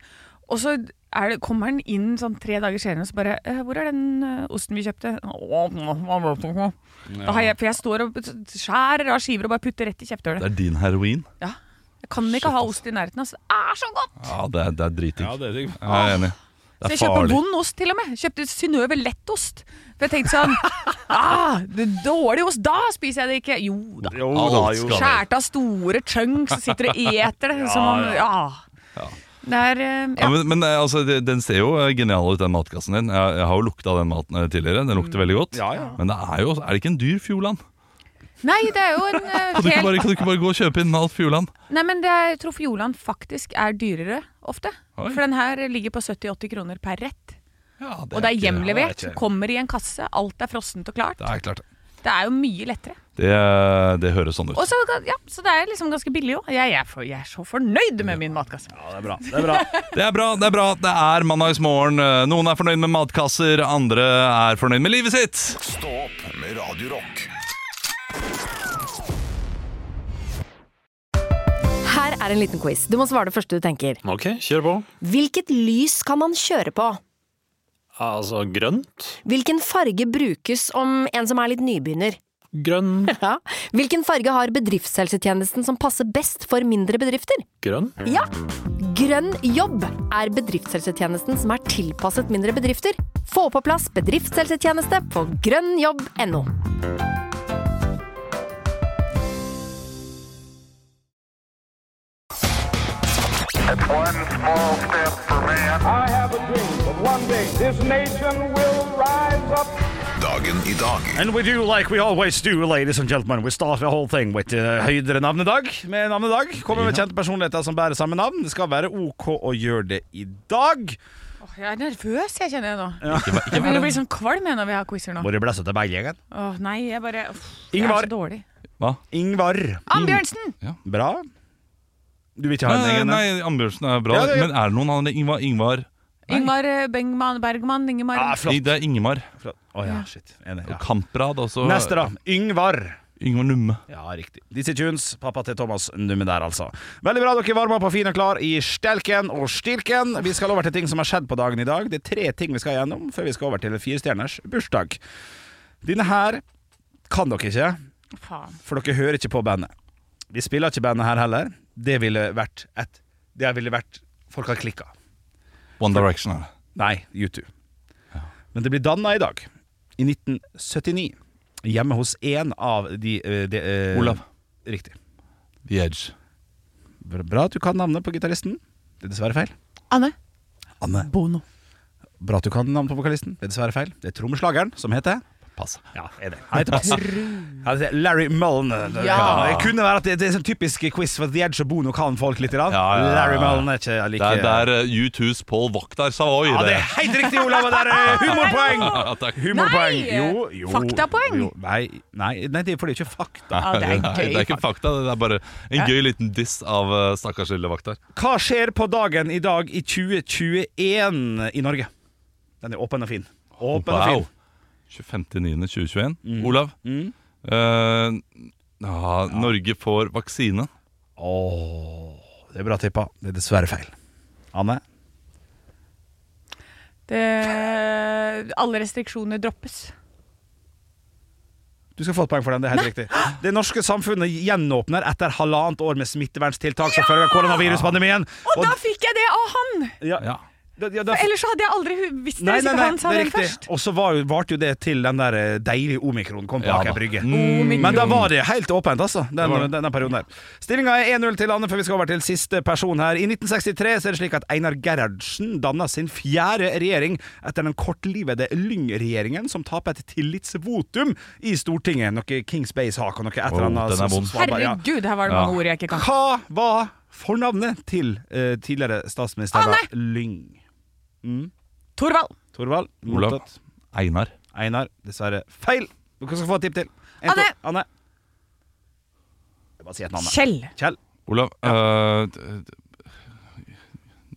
[SPEAKER 4] og så er det, kommer han inn sånn tre dager senere og så bare «Eh, 'Hvor er den eh, osten vi kjøpte?' «Åh, hva var det for noe?» Da har jeg, for jeg står og skjærer av skiver og bare putter rett i kjefthølet.
[SPEAKER 3] Det er din heroin.
[SPEAKER 4] Ja. Jeg kan ikke ha ost i nærheten. Altså. Det er så godt!
[SPEAKER 3] Ja, Ah, det er, det er driting.
[SPEAKER 6] det er digg.
[SPEAKER 3] Jeg er enig.
[SPEAKER 4] Så
[SPEAKER 3] Det er
[SPEAKER 4] jeg kjøper
[SPEAKER 3] farlig.
[SPEAKER 4] vond ost til og med. Jeg Kjøpte Synnøve Lettost. For jeg tenkte sånn ah, det er Dårlig ost, da spiser jeg det ikke. Jo da.
[SPEAKER 6] Jo
[SPEAKER 3] Alt
[SPEAKER 6] da, jo
[SPEAKER 3] skal-
[SPEAKER 6] da.
[SPEAKER 4] Skjært av store chunks og sitter og eter det som om Ja. Det er eh,
[SPEAKER 3] Ja,
[SPEAKER 4] ja.
[SPEAKER 3] men men eh, altså, det- den ser jo eh, genial ut, den matkassen din. Jeg, jeg har jo lukta den maten eh, tidligere. Den lukter veldig godt.
[SPEAKER 6] Ja, ja.
[SPEAKER 3] Men det er jo Er det ikke en dyr Fjordland?
[SPEAKER 4] Nei, det er jo en eh,
[SPEAKER 3] Kan du ikke
[SPEAKER 4] hel
[SPEAKER 3] bare, kan du ikke bare gå og kjøpe inn alt Fjordland?
[SPEAKER 4] Nei, men det er, jeg tror Fjordland faktisk er dyrere ofte.
[SPEAKER 3] Oi.
[SPEAKER 4] For den her ligger på 70-80 kroner per rett.
[SPEAKER 3] Ja,
[SPEAKER 4] Og det er
[SPEAKER 3] ikke-
[SPEAKER 4] hjemlevert.
[SPEAKER 6] ikke-
[SPEAKER 4] Kommer i en kasse. Alt er frossent og klart.
[SPEAKER 3] Det er klart.
[SPEAKER 4] Det er jo mye lettere.
[SPEAKER 3] Det, det høres sånn ut.
[SPEAKER 4] Og så, ja, så det er liksom ganske billig òg. Jeg, er for- jeg er så fornøyd med min matkasse.
[SPEAKER 6] Ja, det er bra. Det er bra.
[SPEAKER 3] Det er bra, det er bra. Det er mandagsmorgen. Eh, Noen er fornøyd med matkasser, andre er fornøyd med livet sitt.
[SPEAKER 2] Stå opp med Radio Rock.
[SPEAKER 1] Her er en liten quiz. Du må svare det første du tenker.
[SPEAKER 8] Ok, kjør på.
[SPEAKER 1] Hvilket lys kan man kjøre på?
[SPEAKER 8] Altså grønt.
[SPEAKER 1] Hvilken farge brukes om en som er litt nybegynner?
[SPEAKER 8] Grønn.
[SPEAKER 1] Ja. Hvilken farge har bedriftshelsetjenesten som passer best for mindre bedrifter?
[SPEAKER 8] Grønn.
[SPEAKER 1] Ja! Grønn jobb er bedriftshelsetjenesten som er tilpasset mindre bedrifter. Få på plass bedriftshelsetjeneste på grønnjobb.no.
[SPEAKER 9] One small step for man. I have a dream that one day this nation will rise up.
[SPEAKER 2] Dagen i dag.
[SPEAKER 5] And we do like we always do, ladies and gentlemen. We start the whole thing with uh, høydere navnedag. Med navnedag kommer med kjente personligheter som bærer samme navn. Det skal være OK å gjøre det i dag.
[SPEAKER 4] Åh, jeg er nervøs, jeg kjenner jeg nå. Jeg begynner å bli sånn kvalm jeg når vi har quizer nå.
[SPEAKER 5] Hvor er blæsa til Berggjengen?
[SPEAKER 4] Åh, nei, jeg bare uff, Jeg
[SPEAKER 5] Ingvar.
[SPEAKER 4] er så dårlig.
[SPEAKER 3] Mm.
[SPEAKER 5] Ingvar.
[SPEAKER 4] Ambjørnsen!
[SPEAKER 5] Bra. Du vil ikke ha en
[SPEAKER 3] Nei,
[SPEAKER 5] egen? eh?
[SPEAKER 3] nei,
[SPEAKER 5] en?
[SPEAKER 3] Ambjørnsen er bra,
[SPEAKER 5] Ja, det-
[SPEAKER 3] men er det noen andre? Ingvar? Ingvar.
[SPEAKER 4] Ingmar eh, Bengman, Bergman, Ingemar.
[SPEAKER 5] Ah,
[SPEAKER 3] I-
[SPEAKER 5] flott.
[SPEAKER 3] Det er Ingemar.
[SPEAKER 5] flott. Å ja, shit. Enig. Ja.
[SPEAKER 3] Og Kamprad også.
[SPEAKER 5] Neste, da. Yngvar.
[SPEAKER 3] Yngvar Numme.
[SPEAKER 5] Ja, riktig. Dizzie Tunes, pappa til Thomas Numme der, altså. Veldig bra, dere varmer opp og fin og klar i stelken og stilken. Vi skal over til ting som har skjedd på dagen i dag. Det er tre ting vi skal gjennom før vi skal over til en firestjerners bursdag. Denne her kan dere ikke,
[SPEAKER 4] Faen.
[SPEAKER 5] for dere hører ikke på bandet. Vi spiller ikke bandet her heller. Det ville vært et Det ville vært Folk har klikka.
[SPEAKER 3] One Direction er det.
[SPEAKER 5] Nei, U2. Men det blir danna i dag, i 1979, hjemme hos én av de, eh, de eh,
[SPEAKER 3] Olav.
[SPEAKER 5] Riktig.
[SPEAKER 3] The Edge.
[SPEAKER 5] Bra- Bra at du kan navnet på gitaristen. Det er dessverre feil.
[SPEAKER 4] Anne.
[SPEAKER 5] Anne.
[SPEAKER 4] Bono.
[SPEAKER 5] Bra at du kan navnet på vokalisten. Det er dessverre feil. Det er trommeslageren som heter
[SPEAKER 3] Pass.
[SPEAKER 5] Ja, er det. Han heter Pass. Han heter Larry Mullen.
[SPEAKER 4] Ja.
[SPEAKER 5] Det kunne være at det, det er sånn typisk quiz for The Edge og Bono kan folk litt.
[SPEAKER 3] Ja,
[SPEAKER 5] Ja,
[SPEAKER 3] ja, ja.
[SPEAKER 5] Larry Mullen er ikke
[SPEAKER 3] Det
[SPEAKER 5] like
[SPEAKER 3] er der eh, U2s Paul Wachter Savoy.
[SPEAKER 5] Ja, det
[SPEAKER 3] det.
[SPEAKER 5] er helt riktig, Olav! og Der er humorpoeng!
[SPEAKER 3] Ja, takk.
[SPEAKER 5] Humorpoeng.
[SPEAKER 4] Nei!
[SPEAKER 5] Jo, jo,
[SPEAKER 4] Faktapoeng.
[SPEAKER 5] Jo, nei, nei, nei, det er fordi det ikke er fakta.
[SPEAKER 4] Ja, det er
[SPEAKER 3] Nei,
[SPEAKER 4] gøy.
[SPEAKER 3] det er ikke fakta, det er bare en gøy liten diss av eh, stakkars lille Wachter.
[SPEAKER 5] Hva skjer på dagen i dag i 2021 i Norge? Den er åpen og fin. Åpen og fin. Mm.
[SPEAKER 3] 25.9.2021. Olav, eh, ja, Norge får vaksine.
[SPEAKER 5] Åh, det er bra tippa. Det er dessverre feil. Anne?
[SPEAKER 4] Det, alle restriksjoner droppes.
[SPEAKER 5] Du skal få et poeng for den. Det er helt riktig. Det norske samfunnet gjenåpner etter halvannet år med smitteverntiltak som følge av koronaviruspandemien.
[SPEAKER 4] Og da fikk jeg det av han!
[SPEAKER 5] ja, ja. Da, ja, da,
[SPEAKER 4] Ellers så hadde jeg aldri hu- visst det.
[SPEAKER 5] nei,
[SPEAKER 4] hvis
[SPEAKER 5] nei,
[SPEAKER 4] ikke
[SPEAKER 5] nei,
[SPEAKER 4] han
[SPEAKER 5] det
[SPEAKER 4] sa
[SPEAKER 5] er
[SPEAKER 4] det først.
[SPEAKER 5] riktig. Og så var jo- varte jo det til den der eh, deilige omikronen kom på
[SPEAKER 3] Ja,
[SPEAKER 5] Aker
[SPEAKER 3] da.
[SPEAKER 5] Brygge.
[SPEAKER 4] Mm. Omikron.
[SPEAKER 5] Men da var det helt åpent, altså. Den,
[SPEAKER 3] var det.
[SPEAKER 5] denne perioden her. Stillinga er 1-0 til Anne før vi skal over til siste person her. I 1963 så er det slik at Einar Gerhardsen danna sin fjerde regjering etter den kortlivede Lyng-regjeringen, som taper et tillitsvotum i Stortinget. Noe Kings Bay-sak og noe et eller
[SPEAKER 3] Oh,
[SPEAKER 5] annet.
[SPEAKER 3] den er
[SPEAKER 5] som-
[SPEAKER 3] vond.
[SPEAKER 5] som Svalbard, ja.
[SPEAKER 4] Herregud, her var det mange ord jeg ikke kan.
[SPEAKER 5] Hva var fornavnet til eh, tidligere statsminister
[SPEAKER 4] Anne!
[SPEAKER 5] da? Lyng?
[SPEAKER 4] Thorvald.
[SPEAKER 5] Torvald?
[SPEAKER 3] Olav.
[SPEAKER 5] Mottatt.
[SPEAKER 3] Einar.
[SPEAKER 5] Einar, dessverre feil. Dere skal få et tipp til. En,
[SPEAKER 4] Anne.
[SPEAKER 5] to. Anne. Jeg bare sier et navn. jeg.
[SPEAKER 4] Kjell.
[SPEAKER 5] Kjell.
[SPEAKER 3] Olav eh, d- d-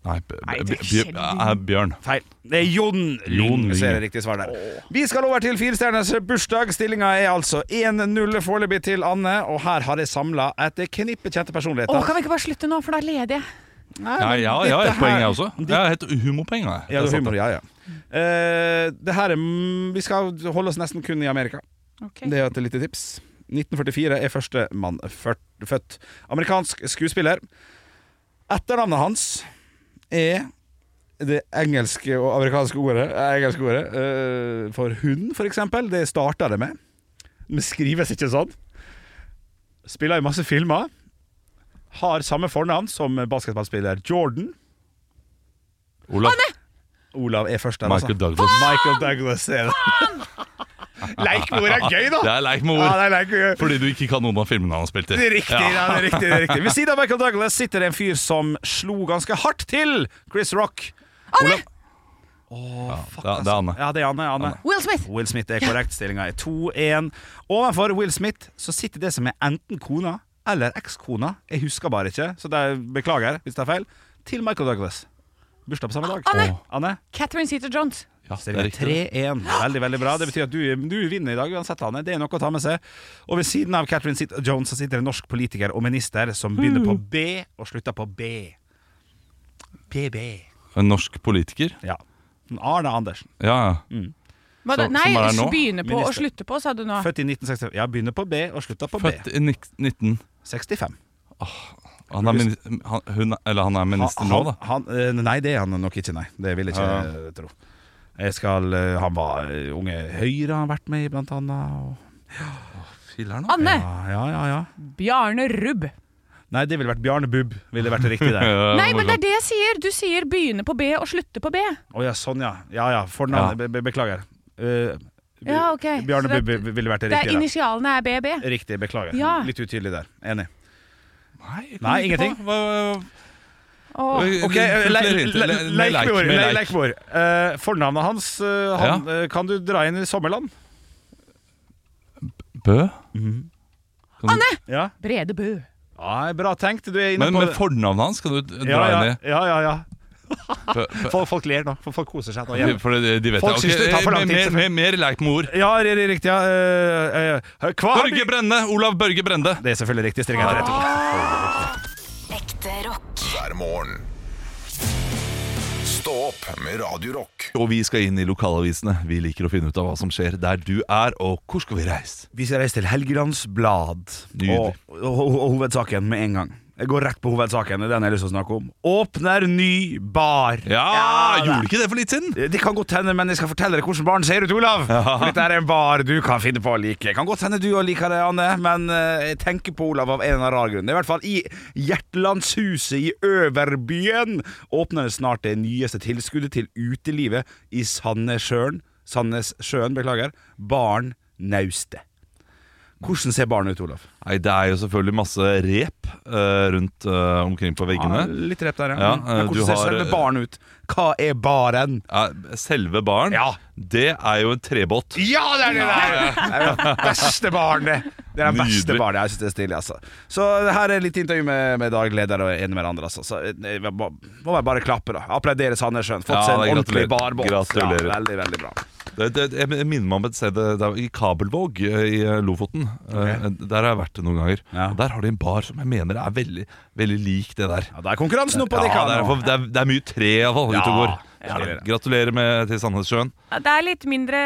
[SPEAKER 3] Nei, b
[SPEAKER 4] Nei,
[SPEAKER 3] b
[SPEAKER 4] det er
[SPEAKER 3] b
[SPEAKER 4] Kjell.
[SPEAKER 3] eh, Bjørn.
[SPEAKER 5] Feil. Det er Jon Lyng.
[SPEAKER 3] Jon
[SPEAKER 5] Vi ser
[SPEAKER 3] Lyng.
[SPEAKER 5] det riktige svar der. Vi skal over til firestjerners bursdag. Stillinga er altså 1-0 foreløpig til Anne, og her har jeg samla et knippe kjente personligheter.
[SPEAKER 4] Å, kan vi ikke bare slutte nå, for da leder jeg.
[SPEAKER 5] Nei,
[SPEAKER 3] Ja,
[SPEAKER 5] men
[SPEAKER 3] ja, ja,
[SPEAKER 5] dette
[SPEAKER 3] et poeng, jeg
[SPEAKER 5] her-
[SPEAKER 3] også. Jeg har hett humorpoeng. jeg.
[SPEAKER 5] Ja,
[SPEAKER 3] Det
[SPEAKER 5] det
[SPEAKER 3] er
[SPEAKER 5] er
[SPEAKER 3] sant,
[SPEAKER 5] humor,
[SPEAKER 3] det.
[SPEAKER 5] ja, ja. Eh, det her er mm, Vi skal holde oss nesten kun i Amerika. Det er et lite tips. 1944 er førstemann ført- født. Amerikansk skuespiller. Etternavnet hans er det engelske og amerikanske ordet, eh, engelske ordet eh, for hund, for eksempel. Det starta det med. Men skrives ikke sånn. Spiller i masse filmer. Har samme fornavn som basketballspiller Jordan.
[SPEAKER 3] Olav.
[SPEAKER 5] Olav er først der,
[SPEAKER 3] Michael
[SPEAKER 5] altså.
[SPEAKER 3] Douglas.
[SPEAKER 5] Michael Douglas er det. Leikmor er gøy, da!
[SPEAKER 3] Det er leit med
[SPEAKER 5] Ja,
[SPEAKER 3] ord.
[SPEAKER 5] det er leikmor.
[SPEAKER 3] Fordi du ikke kan noen av filmene han har spilt i.
[SPEAKER 5] Det er riktig, ja. det er riktig, det er riktig. Ved siden av Michael Douglas sitter det en fyr som slo ganske hardt til Chris Rock. Olav.
[SPEAKER 3] Ja, det er, det er Anne.
[SPEAKER 5] Ja, det er Anne. Anne.
[SPEAKER 4] Will Smith.
[SPEAKER 5] Will Smith er korrekt. Stillinga er 2-1. Ovenfor Will Smith så sitter det som er enten kona eller ekskona, jeg husker bare ikke, så det er, beklager hvis det er feil, til Michael Douglas. Bursdag på samme dag.
[SPEAKER 4] Anne.
[SPEAKER 5] Åh. Anne.
[SPEAKER 4] Catherine Zeta-Jones.
[SPEAKER 3] Ja, det er
[SPEAKER 5] Stillinga
[SPEAKER 3] riktig.
[SPEAKER 5] 3-1. Veldig, veldig bra. Det betyr at du, du vinner i dag uansett, Anne. Det er noe å ta med seg. Og ved siden av Catherine Sit- Jones så sitter en norsk politiker og minister som begynner på B og slutter på B. BB.
[SPEAKER 3] En norsk politiker.
[SPEAKER 5] Ja. Arne Andersen.
[SPEAKER 3] Ja, ja.
[SPEAKER 5] Mm,
[SPEAKER 4] Hva da?
[SPEAKER 3] Som-
[SPEAKER 4] Nei,
[SPEAKER 3] som er her nå?
[SPEAKER 4] begynne på og
[SPEAKER 5] Minister.
[SPEAKER 4] slutte på, sa du nå.
[SPEAKER 5] Født i 1965. Ja, begynner på B og slutter på
[SPEAKER 3] Ah. Født
[SPEAKER 5] B.
[SPEAKER 3] i nik- 19...
[SPEAKER 5] 65.
[SPEAKER 3] Han er, mini- han, hun, er- eller han er minister nå, da. Ah.
[SPEAKER 5] Han, eh, nei, det er han nok ikke, nei. Det vil jeg ikke eh, tro. Jeg skal, eh, han var eh, Unge Høyre har han vært med i, blant annet. Og, Ah,
[SPEAKER 4] Anne.
[SPEAKER 5] ja, ja, ja, ja.
[SPEAKER 4] Bjarne Rubb.
[SPEAKER 5] Nei, det ville vært Bjarne Bubb. Ville vært det riktig der.
[SPEAKER 3] Eh,
[SPEAKER 4] Nei, men det er det jeg sier! Du sier begynne på B og slutte på B.
[SPEAKER 5] Å ja, sånn ja. Ja ja, fornavnet. Be be beklager. Eh, Bi-
[SPEAKER 4] Ja, ok.
[SPEAKER 5] Bjarne
[SPEAKER 4] Så det-
[SPEAKER 5] Bubb ville vært det
[SPEAKER 4] Det er
[SPEAKER 5] riktige.
[SPEAKER 4] initialene er BB.
[SPEAKER 5] der. Riktig, beklager.
[SPEAKER 4] Ja.
[SPEAKER 5] Litt utydelig der. Enig.
[SPEAKER 3] Nei,
[SPEAKER 5] Nei, ingenting.
[SPEAKER 4] Åh.
[SPEAKER 5] Ok, le-
[SPEAKER 3] Flere
[SPEAKER 5] le-
[SPEAKER 3] hint. Le-
[SPEAKER 5] le-
[SPEAKER 3] le- like,
[SPEAKER 5] Leikvor.
[SPEAKER 3] med
[SPEAKER 5] le-
[SPEAKER 3] like.
[SPEAKER 5] Leikvor. Eh, Fornavnet hans eh, han, eh, kan du dra inn i sommerland?
[SPEAKER 3] Bø?
[SPEAKER 5] Ja.
[SPEAKER 4] Brede Bø.
[SPEAKER 5] Nei, bra tenkt. Du er inne
[SPEAKER 3] Men
[SPEAKER 5] på
[SPEAKER 3] med
[SPEAKER 5] det.
[SPEAKER 3] fornavnet hans kan du d- dra
[SPEAKER 5] ja, ja,
[SPEAKER 3] inn i.
[SPEAKER 5] ja, ja, ja.
[SPEAKER 3] Bø, bø.
[SPEAKER 5] Folk, folk ler nå. Folk, folk koser seg nå. hjemme.
[SPEAKER 3] Eh, For det- de vet
[SPEAKER 5] Folk
[SPEAKER 3] det. eh,
[SPEAKER 5] synes det tar for lang tid,
[SPEAKER 3] mer, mer, mer leik med ord.
[SPEAKER 5] Ja, ri- ri- riktig. Ja. Eh, eh, Kvam
[SPEAKER 3] Børge Brende! Olav Børge Brende.
[SPEAKER 5] Det er selvfølgelig riktig. Streng etter ett ord.
[SPEAKER 7] Ekte rock.
[SPEAKER 2] hver morgen. Stå opp med Radio Rock.
[SPEAKER 3] Og vi skal inn i lokalavisene. Vi liker å finne ut av hva som skjer der du er, og hvor skal vi reise?
[SPEAKER 5] Vi skal reise til Helgelands Blad.
[SPEAKER 3] Nydelig.
[SPEAKER 5] Og, og, og og hovedsaken med en gang. Jeg går rett på hovedsaken. Det er den jeg har lyst til å snakke om. Åpner ny bar.
[SPEAKER 3] Ja,
[SPEAKER 5] Ja, da.
[SPEAKER 3] gjorde ikke det for litt siden?
[SPEAKER 5] Det kan godt hende, men jeg skal fortelle deg hvordan baren ser ut, Olav. For dette er en bar du kan finne på å like. Kan godt hende du òg liker det, Anne, men eh, jeg tenker på Olav av en eller annen rar grunn. I hvert fall i Hjertlandshuset i Øverbyen åpner det snart det nyeste tilskuddet til utelivet i Sandnessjøen. Sandnessjøen, beklager. Baren Naustet. Hvordan ser baren ut, Olav?
[SPEAKER 3] Nei, det er jo selvfølgelig masse rep eh, rundt eh, omkring på veggene.
[SPEAKER 5] litt rep der,
[SPEAKER 3] Ja, eh,
[SPEAKER 5] Men
[SPEAKER 3] du
[SPEAKER 5] hvordan ser
[SPEAKER 3] har-
[SPEAKER 5] selve baren ut? Hva er baren?
[SPEAKER 3] Ja, selve baren,
[SPEAKER 5] Ja.
[SPEAKER 3] det er jo en trebåt.
[SPEAKER 5] Ja, det er det der! Det er den beste baren, det. Det er den beste
[SPEAKER 3] Nydelig.
[SPEAKER 5] baren. Jeg synes det er stilig, altså. Så her er litt intervju med, med dagleder og en med den andre, altså. Så eh, må må man bare klappe, da. Applaudere Sandnessjøen. Fått
[SPEAKER 3] Ja, da,
[SPEAKER 5] seg en ordentlig
[SPEAKER 3] gratulerer.
[SPEAKER 5] barbåt.
[SPEAKER 3] Gratulerer.
[SPEAKER 5] Ja, veldig, veldig bra.
[SPEAKER 3] Det, det, jeg minner meg om et sted det er i Kabelvåg eh, i eh, Lofoten. Eh, Der har jeg vært noen ganger.
[SPEAKER 5] Ja.
[SPEAKER 3] Og der har de en bar som jeg mener er veldig, veldig lik det der.
[SPEAKER 5] Ja, da er konkurransen oppe,
[SPEAKER 3] Ja,
[SPEAKER 5] og
[SPEAKER 3] det
[SPEAKER 5] det kan
[SPEAKER 3] er, for- det, er, det er mye tre iallfall ute og går.
[SPEAKER 5] Ja, det er det.
[SPEAKER 3] Gratulerer med, til Sandnessjøen.
[SPEAKER 4] Ja, Det er litt mindre,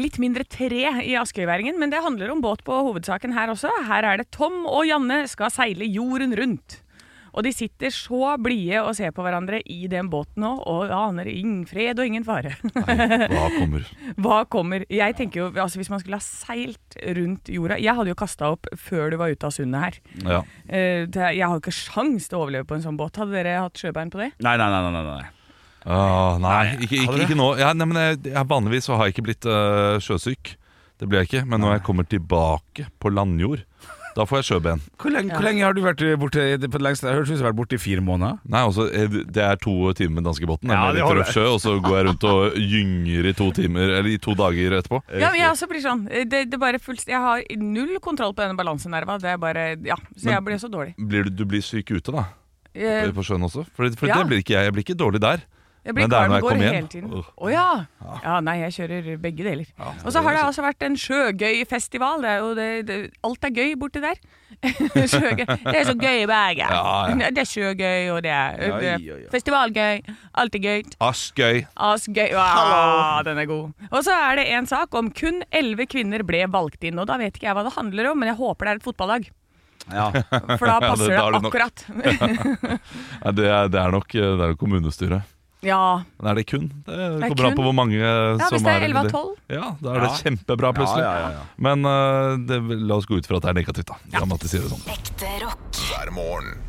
[SPEAKER 4] litt mindre tre i Askøyværingen, men det handler om båt på hovedsaken her også. Her er det Tom og Janne skal seile jorden rundt. Og de sitter så blide og ser på hverandre i den båten nå og aner ingen fred og ingen fare.
[SPEAKER 3] Hva kommer?
[SPEAKER 4] Hva kommer? Jeg tenker jo, altså Hvis man skulle ha seilt rundt jorda Jeg hadde jo kasta opp før du var ute av sundet her.
[SPEAKER 3] Ja.
[SPEAKER 4] Eh, det- Jeg har jo ikke sjans til å overleve på en sånn båt. Hadde dere hatt sjøbein på det?
[SPEAKER 5] Nei, nei, nei. nei, nei.
[SPEAKER 3] Ah, nei, ikke,
[SPEAKER 5] har
[SPEAKER 3] ikke,
[SPEAKER 5] du det?
[SPEAKER 3] ikke nå. Ja, nei, men jeg, jeg, vanligvis så har jeg ikke blitt eh, sjøsyk. Det blir jeg ikke. Men når jeg kommer tilbake på landjord, da får jeg sjøben.
[SPEAKER 5] Hvor, lenge, hvor lenge har du vært eh, borte på det lengste? Jeg hørtes ut som du har vært borte i fire måneder.
[SPEAKER 3] Nei, altså, eh, Det er to timer med danskebåten,
[SPEAKER 5] Ja,
[SPEAKER 3] ja,
[SPEAKER 5] det holder.
[SPEAKER 3] sjø, og så går jeg rundt og gynger i to timer Eller i to dager etterpå.
[SPEAKER 4] Ja, men jeg også blir sånn. Eh, Det, det bare fullst, jeg har null kontroll på denne balansenerva. Det er bare, ja, så jeg blir så dårlig.
[SPEAKER 3] Blir du, du blir syk ute, da?
[SPEAKER 4] Eh,
[SPEAKER 3] På sjøen også? For, for
[SPEAKER 4] Ja.
[SPEAKER 3] det blir ikke jeg. Jeg blir ikke dårlig der.
[SPEAKER 4] Jeg
[SPEAKER 3] Men
[SPEAKER 4] blir
[SPEAKER 3] det er når jeg
[SPEAKER 4] Karlgård
[SPEAKER 3] kommer hjem.
[SPEAKER 4] hele tiden. Å
[SPEAKER 3] Åh.
[SPEAKER 4] ja. ja! Nei, jeg kjører begge deler. og så har det altså vært en sjøgøyfestival. Det er jo det, det, alt er gøy borti der. sjøgøy. Det er så gøy i Bergen.
[SPEAKER 3] Ja, ja.
[SPEAKER 4] Det er sjøgøy, og det er
[SPEAKER 5] Ja,
[SPEAKER 4] det er
[SPEAKER 5] ja, ja.
[SPEAKER 4] festivalgøy. Alt er gøy.
[SPEAKER 3] Askøy.
[SPEAKER 4] Asgøy. Ah, den er god. Og så er det en sak om kun elleve kvinner ble valgt inn. Og da vet ikke jeg hva det handler om, men jeg håper det er et fotballag.
[SPEAKER 5] Ja.
[SPEAKER 4] For da
[SPEAKER 3] det- da er
[SPEAKER 4] passer det,
[SPEAKER 3] det nok.
[SPEAKER 4] akkurat.
[SPEAKER 3] Nei, det, er- det er nok eh, det er jo kommunestyret.
[SPEAKER 4] ja.
[SPEAKER 3] Men er det kun? Det,
[SPEAKER 4] er
[SPEAKER 3] kommer an
[SPEAKER 4] kun.
[SPEAKER 3] på hvor mange eh,
[SPEAKER 4] ja,
[SPEAKER 3] som
[SPEAKER 4] hvis det er
[SPEAKER 3] i
[SPEAKER 4] elleve av tolv.
[SPEAKER 3] Ja, da er det
[SPEAKER 5] Ja.
[SPEAKER 3] kjempebra plutselig.
[SPEAKER 5] Ja, ja, ja, ja.
[SPEAKER 3] Men eh, det, la oss gå ut fra at det er negativt, da. La meg si det sånn.
[SPEAKER 7] Ekte rock.
[SPEAKER 2] hver morgen.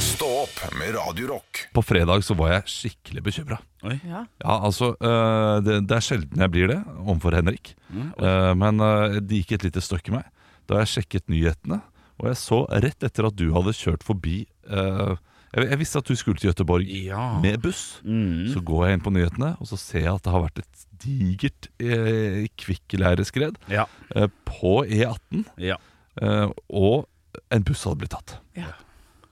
[SPEAKER 2] Stå opp med Radio Rock.
[SPEAKER 3] På fredag så var jeg skikkelig bekymra.
[SPEAKER 4] Ja.
[SPEAKER 3] Ja, altså, eh, det, det er sjelden jeg blir det overfor Henrik.
[SPEAKER 5] Mm,
[SPEAKER 3] Eh, men eh, det gikk et lite støkk i meg da jeg sjekket nyhetene. Og jeg så rett etter at du hadde kjørt forbi eh, jeg, jeg visste at du skulle til Gøteborg
[SPEAKER 5] Ja.
[SPEAKER 3] med buss.
[SPEAKER 5] Mm.
[SPEAKER 4] Mm.
[SPEAKER 3] Så går jeg inn på nyhetene, og så ser jeg at det har vært et digert uh, kvikkleireskred
[SPEAKER 5] Ja.
[SPEAKER 3] eh, på E18.
[SPEAKER 5] Ja.
[SPEAKER 3] Eh, og en buss hadde blitt tatt.
[SPEAKER 4] Ja.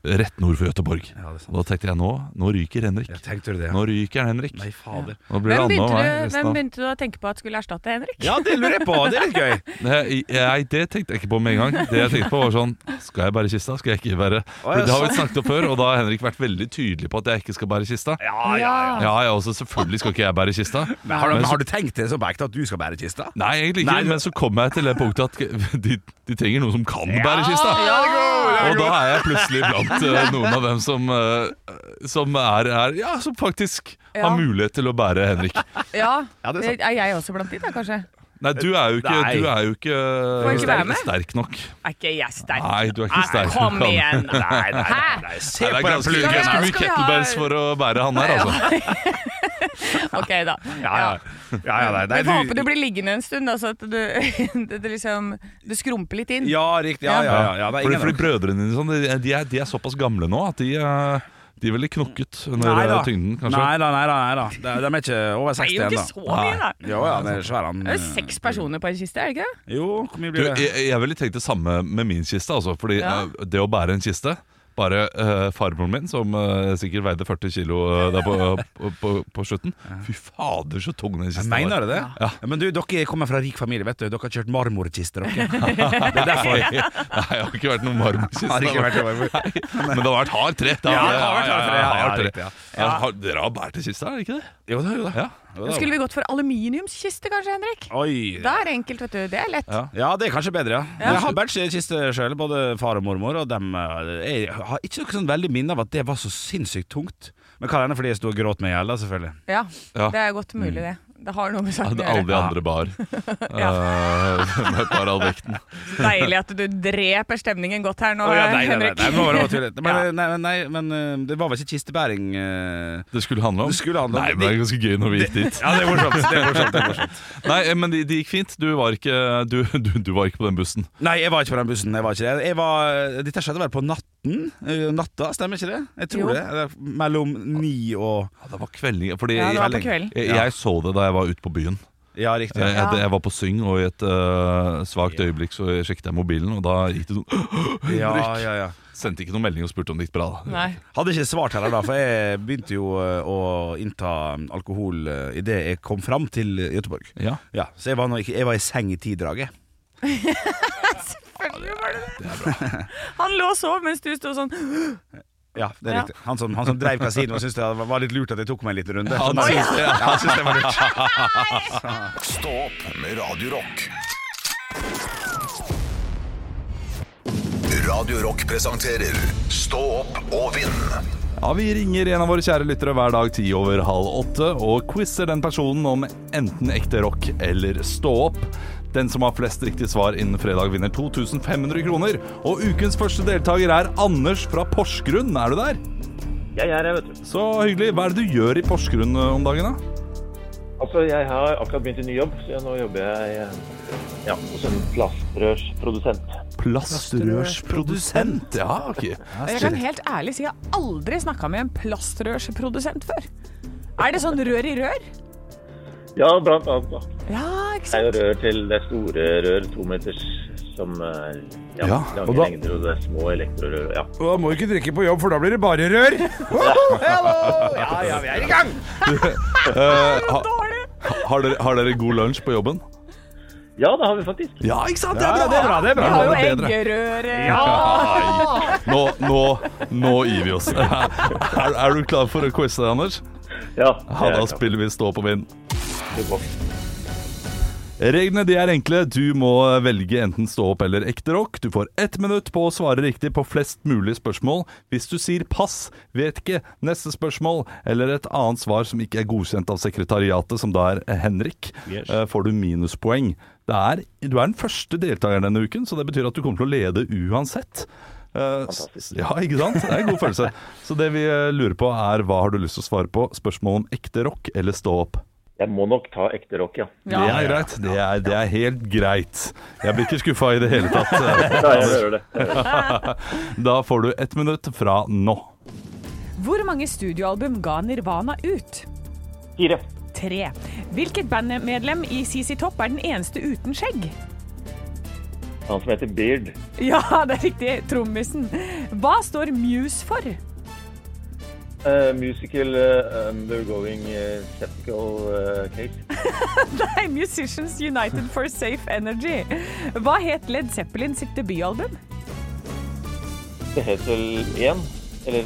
[SPEAKER 3] Rett nord for Gøteborg.
[SPEAKER 5] Ja, det er sant.
[SPEAKER 3] Og da tenkte jeg nå, nå ryker Henrik.
[SPEAKER 5] Ja, tenkte du det? Ja.
[SPEAKER 3] Nå ryker Henrik.
[SPEAKER 5] Nei, fader.
[SPEAKER 3] Nå blir det
[SPEAKER 4] Hvem
[SPEAKER 3] Anne og
[SPEAKER 4] begynte,
[SPEAKER 3] meg
[SPEAKER 4] du,
[SPEAKER 3] resten
[SPEAKER 4] hvem
[SPEAKER 3] av-
[SPEAKER 4] begynte du å tenke på at skulle erstatte Henrik?
[SPEAKER 5] Ja, det lurer jeg på. Det er litt gøy.
[SPEAKER 3] Nei, jeg, det tenkte jeg ikke på med en gang. Det jeg tenkte på var sånn Skal jeg bære kista? Skal jeg ikke bære
[SPEAKER 5] ja,
[SPEAKER 3] For Det har
[SPEAKER 5] altså.
[SPEAKER 3] vi snakket om før, og da har Henrik vært veldig tydelig på at jeg ikke skal bære kista.
[SPEAKER 5] Ja, ja, ja.
[SPEAKER 3] Ja, ja, også selvfølgelig skal ikke jeg bære kista.
[SPEAKER 5] Men har, du,
[SPEAKER 3] Men så-
[SPEAKER 5] har du tenkt det så på ekte at du skal bære kista?
[SPEAKER 3] Nei, egentlig ikke,
[SPEAKER 5] Nei, du-
[SPEAKER 3] men så kom jeg til det punktet at de, de trenger noen som kan bære kista.
[SPEAKER 4] Ah!
[SPEAKER 3] og da er jeg plutselig blant eh, noen av dem som, eh, som er, er Ja, som faktisk
[SPEAKER 4] Ja.
[SPEAKER 3] har mulighet til å bære Henrik.
[SPEAKER 4] Ja,
[SPEAKER 5] Ja, det er sant.
[SPEAKER 4] er jeg også blant de da, kanskje?
[SPEAKER 3] Nei, du er jo ikke,
[SPEAKER 5] Nei.
[SPEAKER 3] du er jo ikke,
[SPEAKER 4] jeg ikke være med?
[SPEAKER 3] sterk nok.
[SPEAKER 4] Er ikke jeg sterk? Ah,
[SPEAKER 3] Nei, du er ikke sterk nok.
[SPEAKER 4] Kom
[SPEAKER 3] han.
[SPEAKER 4] igjen!
[SPEAKER 5] Nei, nei, nei, nei.
[SPEAKER 3] Nei,
[SPEAKER 5] Se
[SPEAKER 3] det er
[SPEAKER 5] på den
[SPEAKER 3] ganske,
[SPEAKER 5] pluggen!
[SPEAKER 3] ganske
[SPEAKER 4] Ja,
[SPEAKER 3] mye
[SPEAKER 4] skal vi ha-
[SPEAKER 3] kettlebells for å bære han her, altså.
[SPEAKER 4] Ok, da.
[SPEAKER 5] Ja, ja. ja, ja nei, nei,
[SPEAKER 4] Jeg får håpe du blir liggende en stund, da, så at du, det, det liksom Det skrumper litt inn.
[SPEAKER 5] Ja, riktig. Ja, ja, ja, ja. Det er
[SPEAKER 3] fordi,
[SPEAKER 5] ingen
[SPEAKER 3] fordi brødrene dine sånn, de, de, er, de er såpass gamle nå at de, eh, de ville knokket under
[SPEAKER 5] Nei da.
[SPEAKER 3] eh, tyngden, kanskje.
[SPEAKER 5] Nei da, nei da. Nei, da. De, de er ikke over
[SPEAKER 4] det er
[SPEAKER 5] 60
[SPEAKER 4] jo ikke
[SPEAKER 5] ennå.
[SPEAKER 4] så mye, da.
[SPEAKER 5] Jo, ja, det er svære han
[SPEAKER 4] Det er jo seks personer på en kiste, er det ikke det?
[SPEAKER 5] Jo, hvor mye
[SPEAKER 3] Du,
[SPEAKER 5] blir det?
[SPEAKER 3] jeg, jeg ville tenkt det samme med min kiste, altså, fordi
[SPEAKER 4] Ja.
[SPEAKER 3] eh, det å bære en kiste bare eh, farmoren min, som eh, sikkert veide 40 kilo eh, der på, på, på, på slutten. Fy fader, så tung den kista
[SPEAKER 5] Jeg
[SPEAKER 3] var.
[SPEAKER 5] mener du det? Ja. Men du, dere kommer fra rik familie, vet du. Dere har kjørt marmorkister, dere.
[SPEAKER 3] Det er derfor. Nei, jeg har ikke vært noen marmorkiste.
[SPEAKER 5] Har ikke vært over.
[SPEAKER 3] Men det har vært hard tre. Det
[SPEAKER 5] Ja, det har vært hard tre, ja,
[SPEAKER 3] hard
[SPEAKER 5] ja,
[SPEAKER 3] tre.
[SPEAKER 5] riktig, ja.
[SPEAKER 3] Ja, har- Dere har bært en kiste, er det ikke det?
[SPEAKER 5] Jo da, jo da.
[SPEAKER 3] Ja.
[SPEAKER 5] Jo da.
[SPEAKER 4] Skulle vi gått for aluminiumskiste, kanskje, Henrik?
[SPEAKER 5] Oi.
[SPEAKER 4] Da er det enkelt, vet du. Det er lett.
[SPEAKER 5] Ja, det er kanskje bedre, ja. Jeg har bæsjkiste sjøl, både far og mormor, og dem eh, Jeg har ikke noe sånn veldig minne av at det var så sinnssykt tungt. Men kan hende fordi jeg sto og gråt meg i hjel, da, selvfølgelig.
[SPEAKER 4] Ja,
[SPEAKER 3] Ja.
[SPEAKER 4] det er godt
[SPEAKER 5] Mm.
[SPEAKER 4] mulig, det. Det har noe med saken
[SPEAKER 3] Hadde
[SPEAKER 4] å
[SPEAKER 3] alle de
[SPEAKER 4] gjøre.
[SPEAKER 3] andre bar. Eh, med bare all vekten.
[SPEAKER 4] Deilig at du dreper stemningen godt her nå,
[SPEAKER 5] Å, ja, nei, nei, nei,
[SPEAKER 4] Henrik.
[SPEAKER 5] nei, det må være lov å tulle. Men, nei, nei, men eh, det var vel ikke kistebæring eh,
[SPEAKER 3] Det skulle handle om?
[SPEAKER 5] Det skulle handle om-
[SPEAKER 3] Nei, men det er ganske gøy når vi gikk dit.
[SPEAKER 5] Ja, det er morsomt. Det er morsomt, det er morsomt.
[SPEAKER 3] Nei, eh, men det de gikk fint. Du var ikke, eh, du, du, du var ikke på den bussen.
[SPEAKER 5] Nei, jeg var ikke på den bussen. Jeg var ikke det. Jeg var, eh, dette skjedde vel på natten? eh, Natta, stemmer ikke det? Jeg tror
[SPEAKER 4] Jo.
[SPEAKER 5] det. Eller Mellom ni og
[SPEAKER 3] Ja, det var kvelding. Fordi
[SPEAKER 4] Ja, det var på
[SPEAKER 3] jeg-
[SPEAKER 4] kvelden.
[SPEAKER 3] Jeg, jeg så det da jeg var ute på byen.
[SPEAKER 5] Ja, riktig.
[SPEAKER 3] Jeg,
[SPEAKER 5] Ja.
[SPEAKER 3] jeg, jeg var på Syng, og i et eh, svakt øyeblikk så sjekket jeg mobilen, og da gikk det sånn
[SPEAKER 5] Ja, ja, ja.
[SPEAKER 3] Sendte ikke noen melding og spurte om det gikk bra. da.
[SPEAKER 4] Nei.
[SPEAKER 5] Hadde ikke svart heller da, for jeg begynte jo eh, å innta alkohol eh, idet jeg kom fram til Göteborg.
[SPEAKER 3] Ja,
[SPEAKER 5] Ja, så jeg var, nå ikke- jeg var i seng i tidraget.
[SPEAKER 4] Selvfølgelig var det det. Han lå og sov mens du sto sånn
[SPEAKER 5] Ja, det er
[SPEAKER 4] Ja.
[SPEAKER 5] riktig. Han som, han som drev kasino, syntes det var litt lurt at jeg tok meg en liten runde.
[SPEAKER 3] han synes det, ja.
[SPEAKER 5] han syntes det var lurt.
[SPEAKER 2] Stå opp med Radio Rock. Radio Rock presenterer Stå opp og vinn.
[SPEAKER 3] Ja, Vi ringer en av våre kjære lyttere hver dag ti over halv åtte og quizer den personen om enten ekte rock eller stå opp. Den som har flest riktige svar innen fredag, vinner 2500 kroner. Og ukens første deltaker er Anders fra Porsgrunn. Er du der?
[SPEAKER 9] Jeg er her, vet du.
[SPEAKER 3] Så hyggelig. Hva er det du gjør i Porsgrunn eh, om dagen, da?
[SPEAKER 9] Altså, jeg har akkurat begynt i ny jobb, så nå jobber jeg eh, ja, hos en plastrørsprodusent.
[SPEAKER 3] Plastrørsprodusent. Ja, ok.
[SPEAKER 4] Jeg kan helt ærlig si jeg har aldri snakka med en plastrørsprodusent før. Er det sånn rør i rør?
[SPEAKER 9] Ja, blant annet. da.
[SPEAKER 4] Ja, ikke
[SPEAKER 9] Det er jo
[SPEAKER 4] sant?
[SPEAKER 9] rør til det store rør, to meters, som eh, ja,
[SPEAKER 3] Ja, og
[SPEAKER 9] lange
[SPEAKER 3] da-
[SPEAKER 9] lengder, og det er små elektrorør. Ja.
[SPEAKER 5] Da må du ikke drikke på jobb, for da blir det bare rør.
[SPEAKER 9] ja, ja, vi er i gang!
[SPEAKER 3] Eh, ha, har, dere, har dere god lunsj på jobben?
[SPEAKER 9] Ja, det har vi faktisk.
[SPEAKER 3] Ja, ikke sant? Det er bra! Det er bra, det er
[SPEAKER 4] Vi
[SPEAKER 3] bra.
[SPEAKER 4] har jo
[SPEAKER 3] Det er bedre.
[SPEAKER 4] eggerør.
[SPEAKER 3] Nei. Nå, nå, nå gir vi oss. Er, er du klar for å quize deg, Anders?
[SPEAKER 9] Ja,
[SPEAKER 3] Ja, da
[SPEAKER 9] det er klart.
[SPEAKER 3] spiller vi Stå på vind.
[SPEAKER 9] Det går.
[SPEAKER 3] Reglene de er enkle. Du må velge enten stå opp eller ekte rock. Du får ett minutt på å svare riktig på flest mulig spørsmål. Hvis du sier pass, vet ikke, neste spørsmål eller et annet svar som ikke er godkjent av sekretariatet, som da er Henrik,
[SPEAKER 10] Yes.
[SPEAKER 3] eh, får du minuspoeng. Det er, du er den første deltakeren denne uken, så det betyr at du kommer til å lede uansett. Eh, s- Ja, ikke sant? Det er en god følelse. Så det vi eh, lurer på er hva har du lyst til å svare på? Spørsmål om ekte rock eller stå opp?
[SPEAKER 9] Jeg må nok ta ekte rock, ja.
[SPEAKER 3] Det er greit. Det er, det er helt greit. Jeg blir ikke skuffa i det hele tatt. Eh,
[SPEAKER 9] Ja, jeg hører det.
[SPEAKER 3] Da får du ett minutt fra nå.
[SPEAKER 4] Hvor mange studioalbum ga Nirvana ut?
[SPEAKER 9] Fire.
[SPEAKER 4] Tre. Hvilket bandmedlem i CC Topp er den eneste uten skjegg?
[SPEAKER 9] Han som heter Beard.
[SPEAKER 4] Ja, det er riktig. Trommisen. Hva står Muse for?
[SPEAKER 9] Eh, musical eh, undergoing eh, skeptical eh, case.
[SPEAKER 4] Nei, Musicians United for Safe Energy. Hva het Led Zeppelin sitt debutalbum?
[SPEAKER 9] Det heter 1, eller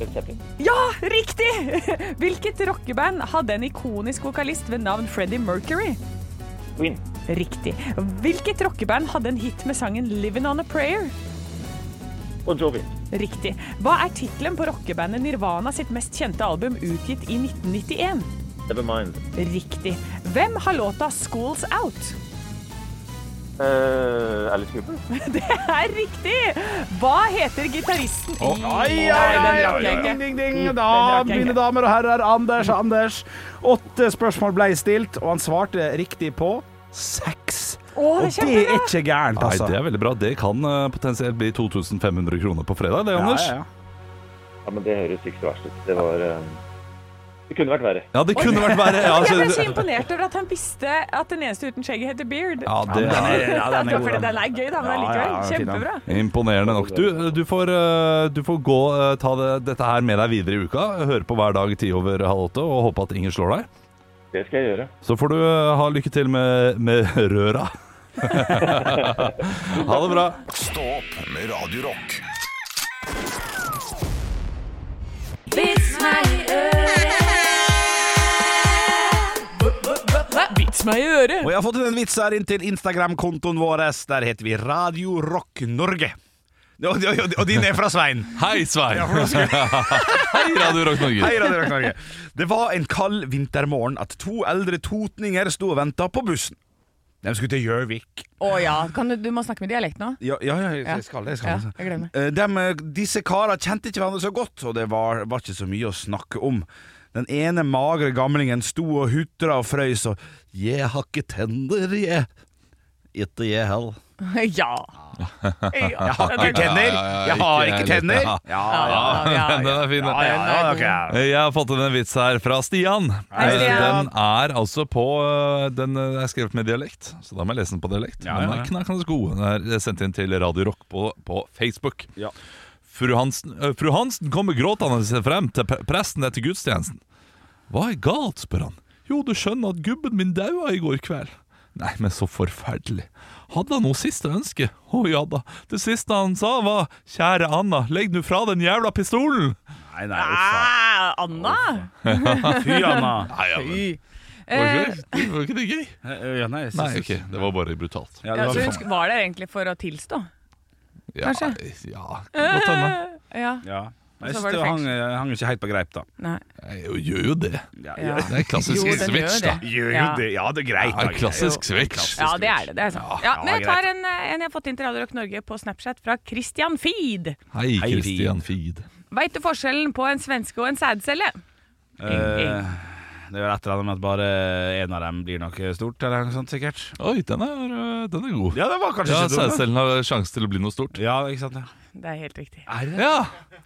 [SPEAKER 9] Led Zeppelin.
[SPEAKER 4] Ja, riktig! Hvilket rockeband hadde en ikonisk vokalist ved navn Freddie Mercury?
[SPEAKER 9] Queen.
[SPEAKER 4] Riktig. Hvilket rockeband hadde en hit med sangen 'Livin' On A Prayer'?
[SPEAKER 9] Bon Jovi.
[SPEAKER 4] Riktig. Hva er tittelen på rockebandet Nirvana sitt mest kjente album utgitt i 1991?
[SPEAKER 9] Nevermind.
[SPEAKER 4] Riktig. Hvem har låta 'Schools Out'?
[SPEAKER 11] Eh, Alice Cooper?
[SPEAKER 4] Det er riktig! Hva heter gitaristen i
[SPEAKER 5] Ai, ai, ai,
[SPEAKER 4] Nei, den
[SPEAKER 5] ai,
[SPEAKER 4] rakk
[SPEAKER 5] ai,
[SPEAKER 4] jeg ikke.
[SPEAKER 5] ding, ding, ding.
[SPEAKER 4] Mm, Den
[SPEAKER 5] Da,
[SPEAKER 4] rakk jeg
[SPEAKER 5] mine
[SPEAKER 4] ikke.
[SPEAKER 5] damer og herrer, Anders, Anders. Åtte spørsmål ble stilt, og han svarte riktig på seks.
[SPEAKER 4] Å,
[SPEAKER 5] Og
[SPEAKER 4] det er
[SPEAKER 5] det er
[SPEAKER 4] kjempebra!
[SPEAKER 5] ikke gærent,
[SPEAKER 3] Nei,
[SPEAKER 5] altså.
[SPEAKER 3] det er veldig bra. Det kan eh, potensielt bli 2500 kroner på fredag, det, Anders. Ja,
[SPEAKER 5] ja.
[SPEAKER 11] Ja, men det høres ikke så verst ut. Det var eh, Det kunne vært verre.
[SPEAKER 3] det kunne vært verre. Ja,
[SPEAKER 4] Jeg ble så
[SPEAKER 3] altså,
[SPEAKER 4] imponert over at han visste at den eneste uten skjegg heter Beard.
[SPEAKER 3] ja, det er
[SPEAKER 5] ja, den er god,
[SPEAKER 4] Fordi
[SPEAKER 5] den.
[SPEAKER 4] den er gøy, da, men
[SPEAKER 5] Ja, ja, ja,
[SPEAKER 4] allikevel.
[SPEAKER 5] fin, den.
[SPEAKER 4] Kjempebra.
[SPEAKER 3] Imponerende nok. Du, du, får, eh, du får gå eh, ta det, dette her med deg videre i uka. Høre på hver dag ti over halv åtte og håpe at ingen slår deg.
[SPEAKER 11] Det skal jeg gjøre.
[SPEAKER 3] Så får du eh, ha lykke til med, med røra. ha det bra.
[SPEAKER 2] Stå opp med Radio Rock.
[SPEAKER 4] Vits meg i øret!
[SPEAKER 5] Og jeg har fått inn en vits her inn til Instagram-kontoen vår. Der heter vi Radio Rock Norge. Og, og, og, og din er fra Svein.
[SPEAKER 3] Hei, Svein. Hei, Radio Rock Norge.
[SPEAKER 5] Hei, Radio Rock Norge. Det var en kald vintermorgen at to eldre totninger sto og venta på bussen. De skulle til Gjøvik.
[SPEAKER 4] Å ja. Kan du, du må snakke med dialekt nå.
[SPEAKER 5] Ja, ja, ja,
[SPEAKER 4] Ja.
[SPEAKER 5] jeg skal det. Jeg skal,
[SPEAKER 4] Ja,
[SPEAKER 5] det.
[SPEAKER 4] jeg glemmer.
[SPEAKER 5] Eh, dem, eh, disse karene kjente ikke hverandre så godt, og det var, var ikke så mye å snakke om. Den ene magre gamlingen sto og hutra og frøys og Jeg har ikke tenner, jeg. Ikke jeg heller.
[SPEAKER 4] Ja. ja.
[SPEAKER 5] Jeg har ikke tenner! Jeg har ikke tenner! Ja, ja,
[SPEAKER 4] ja,
[SPEAKER 3] Den er fin.
[SPEAKER 5] ja, ja, ja, ok.
[SPEAKER 3] Eh, Jeg har fått inn en vits her fra Stian.
[SPEAKER 4] Hei,
[SPEAKER 3] Eh,
[SPEAKER 4] Stian.
[SPEAKER 3] Den er altså på eh, Den eh, er skrevet med dialekt, så da må jeg lese den på dialekt.
[SPEAKER 5] Ja,
[SPEAKER 3] Men
[SPEAKER 5] ja,
[SPEAKER 3] den
[SPEAKER 5] ja.
[SPEAKER 3] er knakende god. Den er sendt inn til Radio Rock på, på Facebook.
[SPEAKER 5] Ja.
[SPEAKER 3] Fru, Hansen, eh, fru Hansen kommer gråtende frem til pre- presten etter gudstjenesten. Hva er galt, spør han. Jo, du skjønner at gubben min daua i går kveld. Nei, men så forferdelig. Hadde han noe siste ønske? Å ja da. Det siste han sa var Kjære Anna, legg nå fra den jævla pistolen!
[SPEAKER 5] Nei, nei, uff
[SPEAKER 4] Ah, Anna! Ah.
[SPEAKER 5] da. Fy, Anna.
[SPEAKER 3] Nei, ja, men-
[SPEAKER 4] Fy.
[SPEAKER 3] Var
[SPEAKER 4] Eh,
[SPEAKER 3] ikke, det- var ikke det gøy?
[SPEAKER 5] Eh, Ja, nei, jeg
[SPEAKER 3] Nei,
[SPEAKER 5] synes-
[SPEAKER 3] ok, det var bare brutalt.
[SPEAKER 5] Ja, det var
[SPEAKER 4] ja, så
[SPEAKER 5] litt
[SPEAKER 4] hun
[SPEAKER 5] sånn.
[SPEAKER 4] sk- var der egentlig for å tilstå?
[SPEAKER 3] Ja,
[SPEAKER 4] Kanskje?
[SPEAKER 3] ja kan godt hende.
[SPEAKER 4] Ja.
[SPEAKER 5] ja. Nei, Jeg
[SPEAKER 4] Så
[SPEAKER 5] synes
[SPEAKER 4] var det
[SPEAKER 5] det hang, eh, hang ikke helt på greip, da.
[SPEAKER 4] Nei.
[SPEAKER 3] Jeg gjør jo det.
[SPEAKER 4] Ja.
[SPEAKER 3] Det er klassisk
[SPEAKER 4] Jo, den
[SPEAKER 3] switch,
[SPEAKER 4] gjør
[SPEAKER 3] da.
[SPEAKER 4] det.
[SPEAKER 5] Gjør jo
[SPEAKER 4] Ja.
[SPEAKER 5] det. Ja, det er greit.
[SPEAKER 3] Ja,
[SPEAKER 5] da.
[SPEAKER 3] klassisk
[SPEAKER 5] Jo.
[SPEAKER 3] switch.
[SPEAKER 4] Ja, det er det. det er sant. Ja, men jeg
[SPEAKER 5] greit.
[SPEAKER 4] tar en, eh, en jeg har fått inn til Radio Rock Norge på Snapchat fra Christian Feed.
[SPEAKER 3] Hei,
[SPEAKER 5] Hei,
[SPEAKER 3] Christian Feed.
[SPEAKER 4] Veit du forskjellen på en svenske og en sædcelle?
[SPEAKER 5] Eh, Det er vel et eller annet med at bare en av dem blir noe stort, eller noe sånt, sikkert.
[SPEAKER 3] Oi, den er, øh, den er god.
[SPEAKER 5] Ja, det var kanskje
[SPEAKER 3] Ja,
[SPEAKER 5] ikke dumt.
[SPEAKER 3] Sædcellen har sjanse til å bli noe stort.
[SPEAKER 5] Ja, ikke sant, ja.
[SPEAKER 4] Det er helt riktig.
[SPEAKER 3] Ja!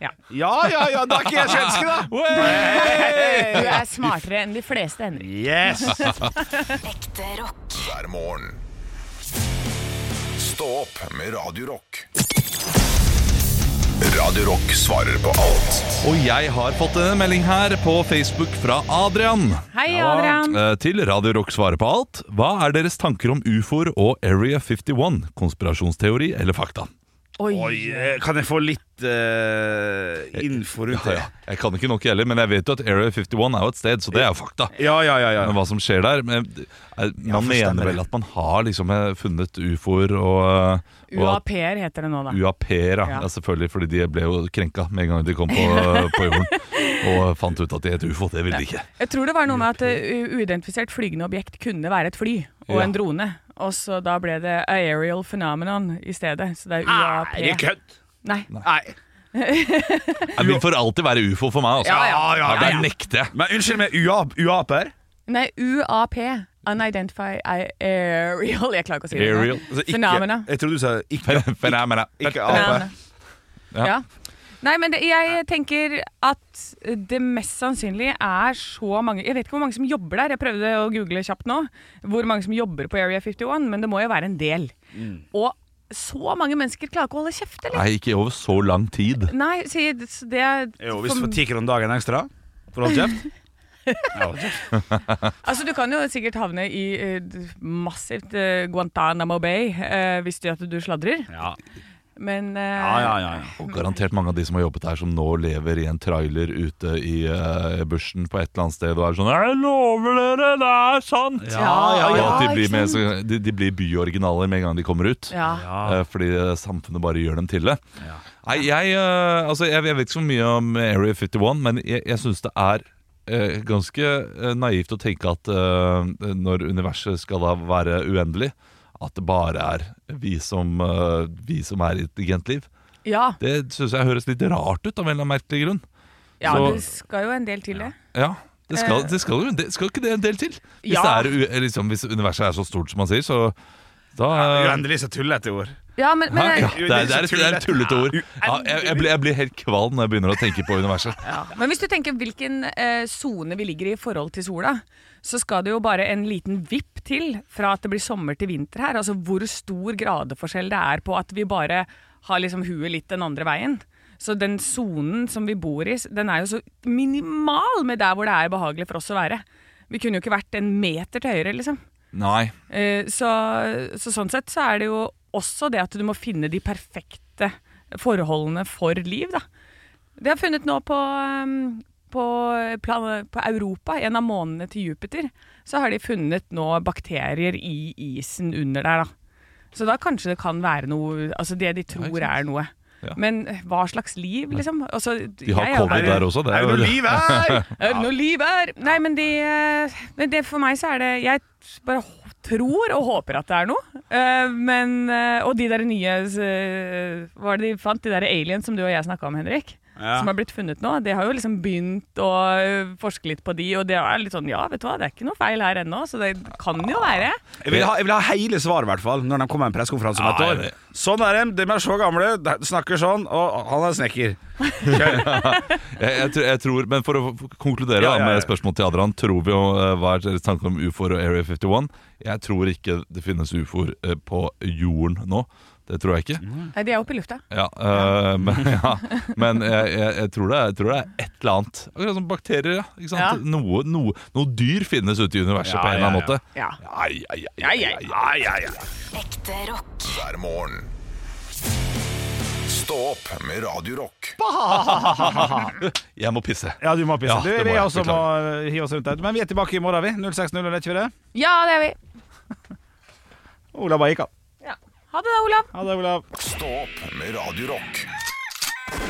[SPEAKER 5] Ja, ja, ja, da er ikke jeg svenske, da!
[SPEAKER 4] Du er smartere enn de fleste, Henrik.
[SPEAKER 5] Yes!
[SPEAKER 7] Ekte rock.
[SPEAKER 2] hver morgen. Stå opp med Radio Rock. Radio Rock svarer på alt
[SPEAKER 3] Og jeg har fått en melding her på Facebook fra Adrian.
[SPEAKER 4] Hei, Adrian.
[SPEAKER 3] Eh, Til Radio Rock svarer på alt. Hva er deres tanker om ufoer og Area 51? Konspirasjonsteori eller fakta?
[SPEAKER 5] Oi, eh, kan jeg få litt eh, info
[SPEAKER 3] Ja,
[SPEAKER 5] rundt det?
[SPEAKER 3] ja. Jeg kan ikke nok heller, men jeg vet jo at Area 51 er jo et sted, så det er jo fakta.
[SPEAKER 5] Ja, ja, ja. ja.
[SPEAKER 3] Men hva som skjer der men, eh, Man
[SPEAKER 5] forstår
[SPEAKER 3] mener
[SPEAKER 5] det.
[SPEAKER 3] vel at man har liksom eh, funnet ufoer og, eh, og at
[SPEAKER 4] UAP-er heter det nå, da.
[SPEAKER 3] UAP-er, ja.
[SPEAKER 4] Ja.
[SPEAKER 3] ja, selvfølgelig, fordi de ble jo krenka med en gang de kom på, på jorden og fant ut at de het ufo. Det ville de ikke.
[SPEAKER 4] Jeg tror det var noe med at uh, uidentifisert flygende objekt kunne være et fly og
[SPEAKER 3] Ja.
[SPEAKER 4] en drone. Og så da ble det aerial phenomenon i stedet. Så det er UAP.
[SPEAKER 5] Er Ah, det kødd?
[SPEAKER 4] Nei.
[SPEAKER 5] Nei.
[SPEAKER 3] Det vil for alltid være ufo for meg, altså.
[SPEAKER 4] Ja, ja,
[SPEAKER 5] ja, ja, ja.
[SPEAKER 3] Der nekter jeg.
[SPEAKER 5] Men unnskyld meg, UA UAP-er?
[SPEAKER 4] Nei, UAP. Unidentified I- aerial Jeg klarer ikke å si det. nå.
[SPEAKER 3] Aerial.
[SPEAKER 5] Altså, ikke-
[SPEAKER 4] Phenomena.
[SPEAKER 5] Jeg trodde du sa ikke,
[SPEAKER 3] Fenomena.
[SPEAKER 5] ikke
[SPEAKER 4] Phenomena.
[SPEAKER 5] AP.
[SPEAKER 4] Ja. Nei, men det, jeg tenker at det mest sannsynlig er så mange Jeg vet ikke hvor mange som jobber der. Jeg prøvde å google kjapt nå hvor mange som jobber på Area 51, men det må jo være en del. Og så mange mennesker klarer ikke å holde kjeft, eller?
[SPEAKER 3] Nei, ikke over så lang tid.
[SPEAKER 4] Nei, si, det det er
[SPEAKER 5] Jo, hvis du
[SPEAKER 4] for-
[SPEAKER 5] får ti kroner dagen ekstra for å holde kjeft. Ja, hold kjeft.
[SPEAKER 4] Altså, du kan jo sikkert havne i eh, d- massivt eh, Guantánamo Bay eh, hvis du, at du sladrer,
[SPEAKER 5] Ja,
[SPEAKER 4] men eh,
[SPEAKER 5] ja, ja. ja, ja.
[SPEAKER 3] Og garantert mange av de som har jobbet her, som nå lever i en trailer ute i eh, bushen på et eller annet sted og er sånn Jeg lover dere, det er sant!
[SPEAKER 4] ja,
[SPEAKER 3] Og at de,
[SPEAKER 4] ikke
[SPEAKER 3] blir med, så, de, de blir byoriginaler med en gang de kommer ut.
[SPEAKER 4] ja.
[SPEAKER 3] Eh, Fordi eh, samfunnet bare gjør dem til det. Nei, jeg, eh, altså, jeg, jeg vet ikke så mye om Area 51, men jeg, jeg syns det er eh, ganske eh, naivt å tenke at eh, når universet skal da være uendelig, at det bare er vi som, eh, vi som er i et intelligent liv.
[SPEAKER 4] Ja.
[SPEAKER 3] Det syns jeg høres litt rart ut av en eller annen merkelig grunn.
[SPEAKER 4] ja,
[SPEAKER 3] Så-
[SPEAKER 4] det skal jo en del til, det.
[SPEAKER 3] ja, det skal,
[SPEAKER 4] Eh.
[SPEAKER 3] det skal, jo- det skal ikke det en del til? Hvis,
[SPEAKER 4] Ja.
[SPEAKER 3] det er, u- liksom, hvis universet er så stort som man sier, så da
[SPEAKER 6] Uendelig så tullete ord.
[SPEAKER 4] Ja, men,
[SPEAKER 3] Hæ?
[SPEAKER 4] men,
[SPEAKER 3] Ja, det, er, det, er, det er et tullete ord. Ja, jeg, jeg, blir, jeg blir helt kvalm når jeg begynner å tenke på universet.
[SPEAKER 4] men hvis du tenker hvilken eh, sone vi ligger i i forhold til sola, så skal det jo bare en liten vipp til fra at det blir sommer til vinter her. Altså hvor stor gradeforskjell det er på at vi bare har liksom huet litt den andre veien. Så den sonen som vi bor i, den er jo så minimal med der hvor det er behagelig for oss å være. Vi kunne jo ikke vært en meter til høyre, liksom.
[SPEAKER 3] Nei.
[SPEAKER 4] Eh, Så, så sånn sett så er det jo også det at du må finne de perfekte forholdene for liv, da. Det har jeg funnet nå på, um, på, plan- på Europa, en av månedene til Jupiter, så har de funnet nå bakterier i isen under der, da. Så da kanskje det kan være noe Altså det de tror er noe.
[SPEAKER 3] Ja.
[SPEAKER 4] Men hva slags liv, liksom? Altså,
[SPEAKER 3] De har
[SPEAKER 4] jeg er jo
[SPEAKER 3] covid
[SPEAKER 4] bare-
[SPEAKER 3] der også. Det
[SPEAKER 4] Er det
[SPEAKER 3] jo-
[SPEAKER 4] noe liv her? Er det noe liv her? Nei, men det, men det for meg så er det Jeg bare h- tror og håper at det er noe. Eh, Men, eh, og de der nye eh, Hva var det de fant? De der aliens som du og jeg snakka om, Henrik?
[SPEAKER 12] Ja.
[SPEAKER 4] Som har blitt funnet nå. De har jo liksom begynt å eh, forske litt på de, og det er litt sånn Ja, vet du hva, det er ikke noe feil her ennå, så det kan jo være.
[SPEAKER 6] Jeg vil, ha, jeg vil ha hele svaret, i hvert fall, når de kommer med en pressekonferanse om et
[SPEAKER 5] Ja,
[SPEAKER 6] år.
[SPEAKER 5] jeg vet.
[SPEAKER 6] Sånn er dem, de er så gamle, de snakker sånn, og han er snekker.
[SPEAKER 3] jeg, jeg, tror- jeg tror, men for å f- konkludere
[SPEAKER 6] Ja, ja,
[SPEAKER 3] Da,
[SPEAKER 6] ja.
[SPEAKER 3] med spørsmålet til Adrian Tror vi jo eh, hva er deres tanke om ufoer og Area 51? Jeg tror ikke det finnes ufoer eh, på jorden nå. Det tror jeg ikke.
[SPEAKER 4] Nei, de er oppe i lufta.
[SPEAKER 3] Ja, eh, men ja, men jeg, jeg, jeg, tror det, jeg tror det er et eller annet. Akkurat som bakterier. ja, Ikke sant?
[SPEAKER 4] Ja.
[SPEAKER 3] Noe, noe, noe dyr finnes ute i universet
[SPEAKER 2] Ja,
[SPEAKER 3] på en eller annen
[SPEAKER 2] ja, ja.
[SPEAKER 3] måte.
[SPEAKER 4] Ja.
[SPEAKER 3] Ai, ai, ai,
[SPEAKER 2] Ja, ja, ja, ja,
[SPEAKER 7] Ekte rock.
[SPEAKER 2] Hver morgen. Stå opp med Radio Rock.
[SPEAKER 3] Jeg må pisse.
[SPEAKER 6] Ja, du må pisse.
[SPEAKER 3] Ja,
[SPEAKER 6] du,
[SPEAKER 3] det må
[SPEAKER 6] vi
[SPEAKER 3] jeg,
[SPEAKER 6] også må
[SPEAKER 3] beklager.
[SPEAKER 6] hive oss rundt der. Men vi er tilbake i morgen, vi. 06.00, er det ikke det?
[SPEAKER 4] Ja, det er vi.
[SPEAKER 6] Ola bare gikk av.
[SPEAKER 4] Ha det da, Olav.
[SPEAKER 6] Ha det, Olav.
[SPEAKER 2] Stå opp med Radio Rock.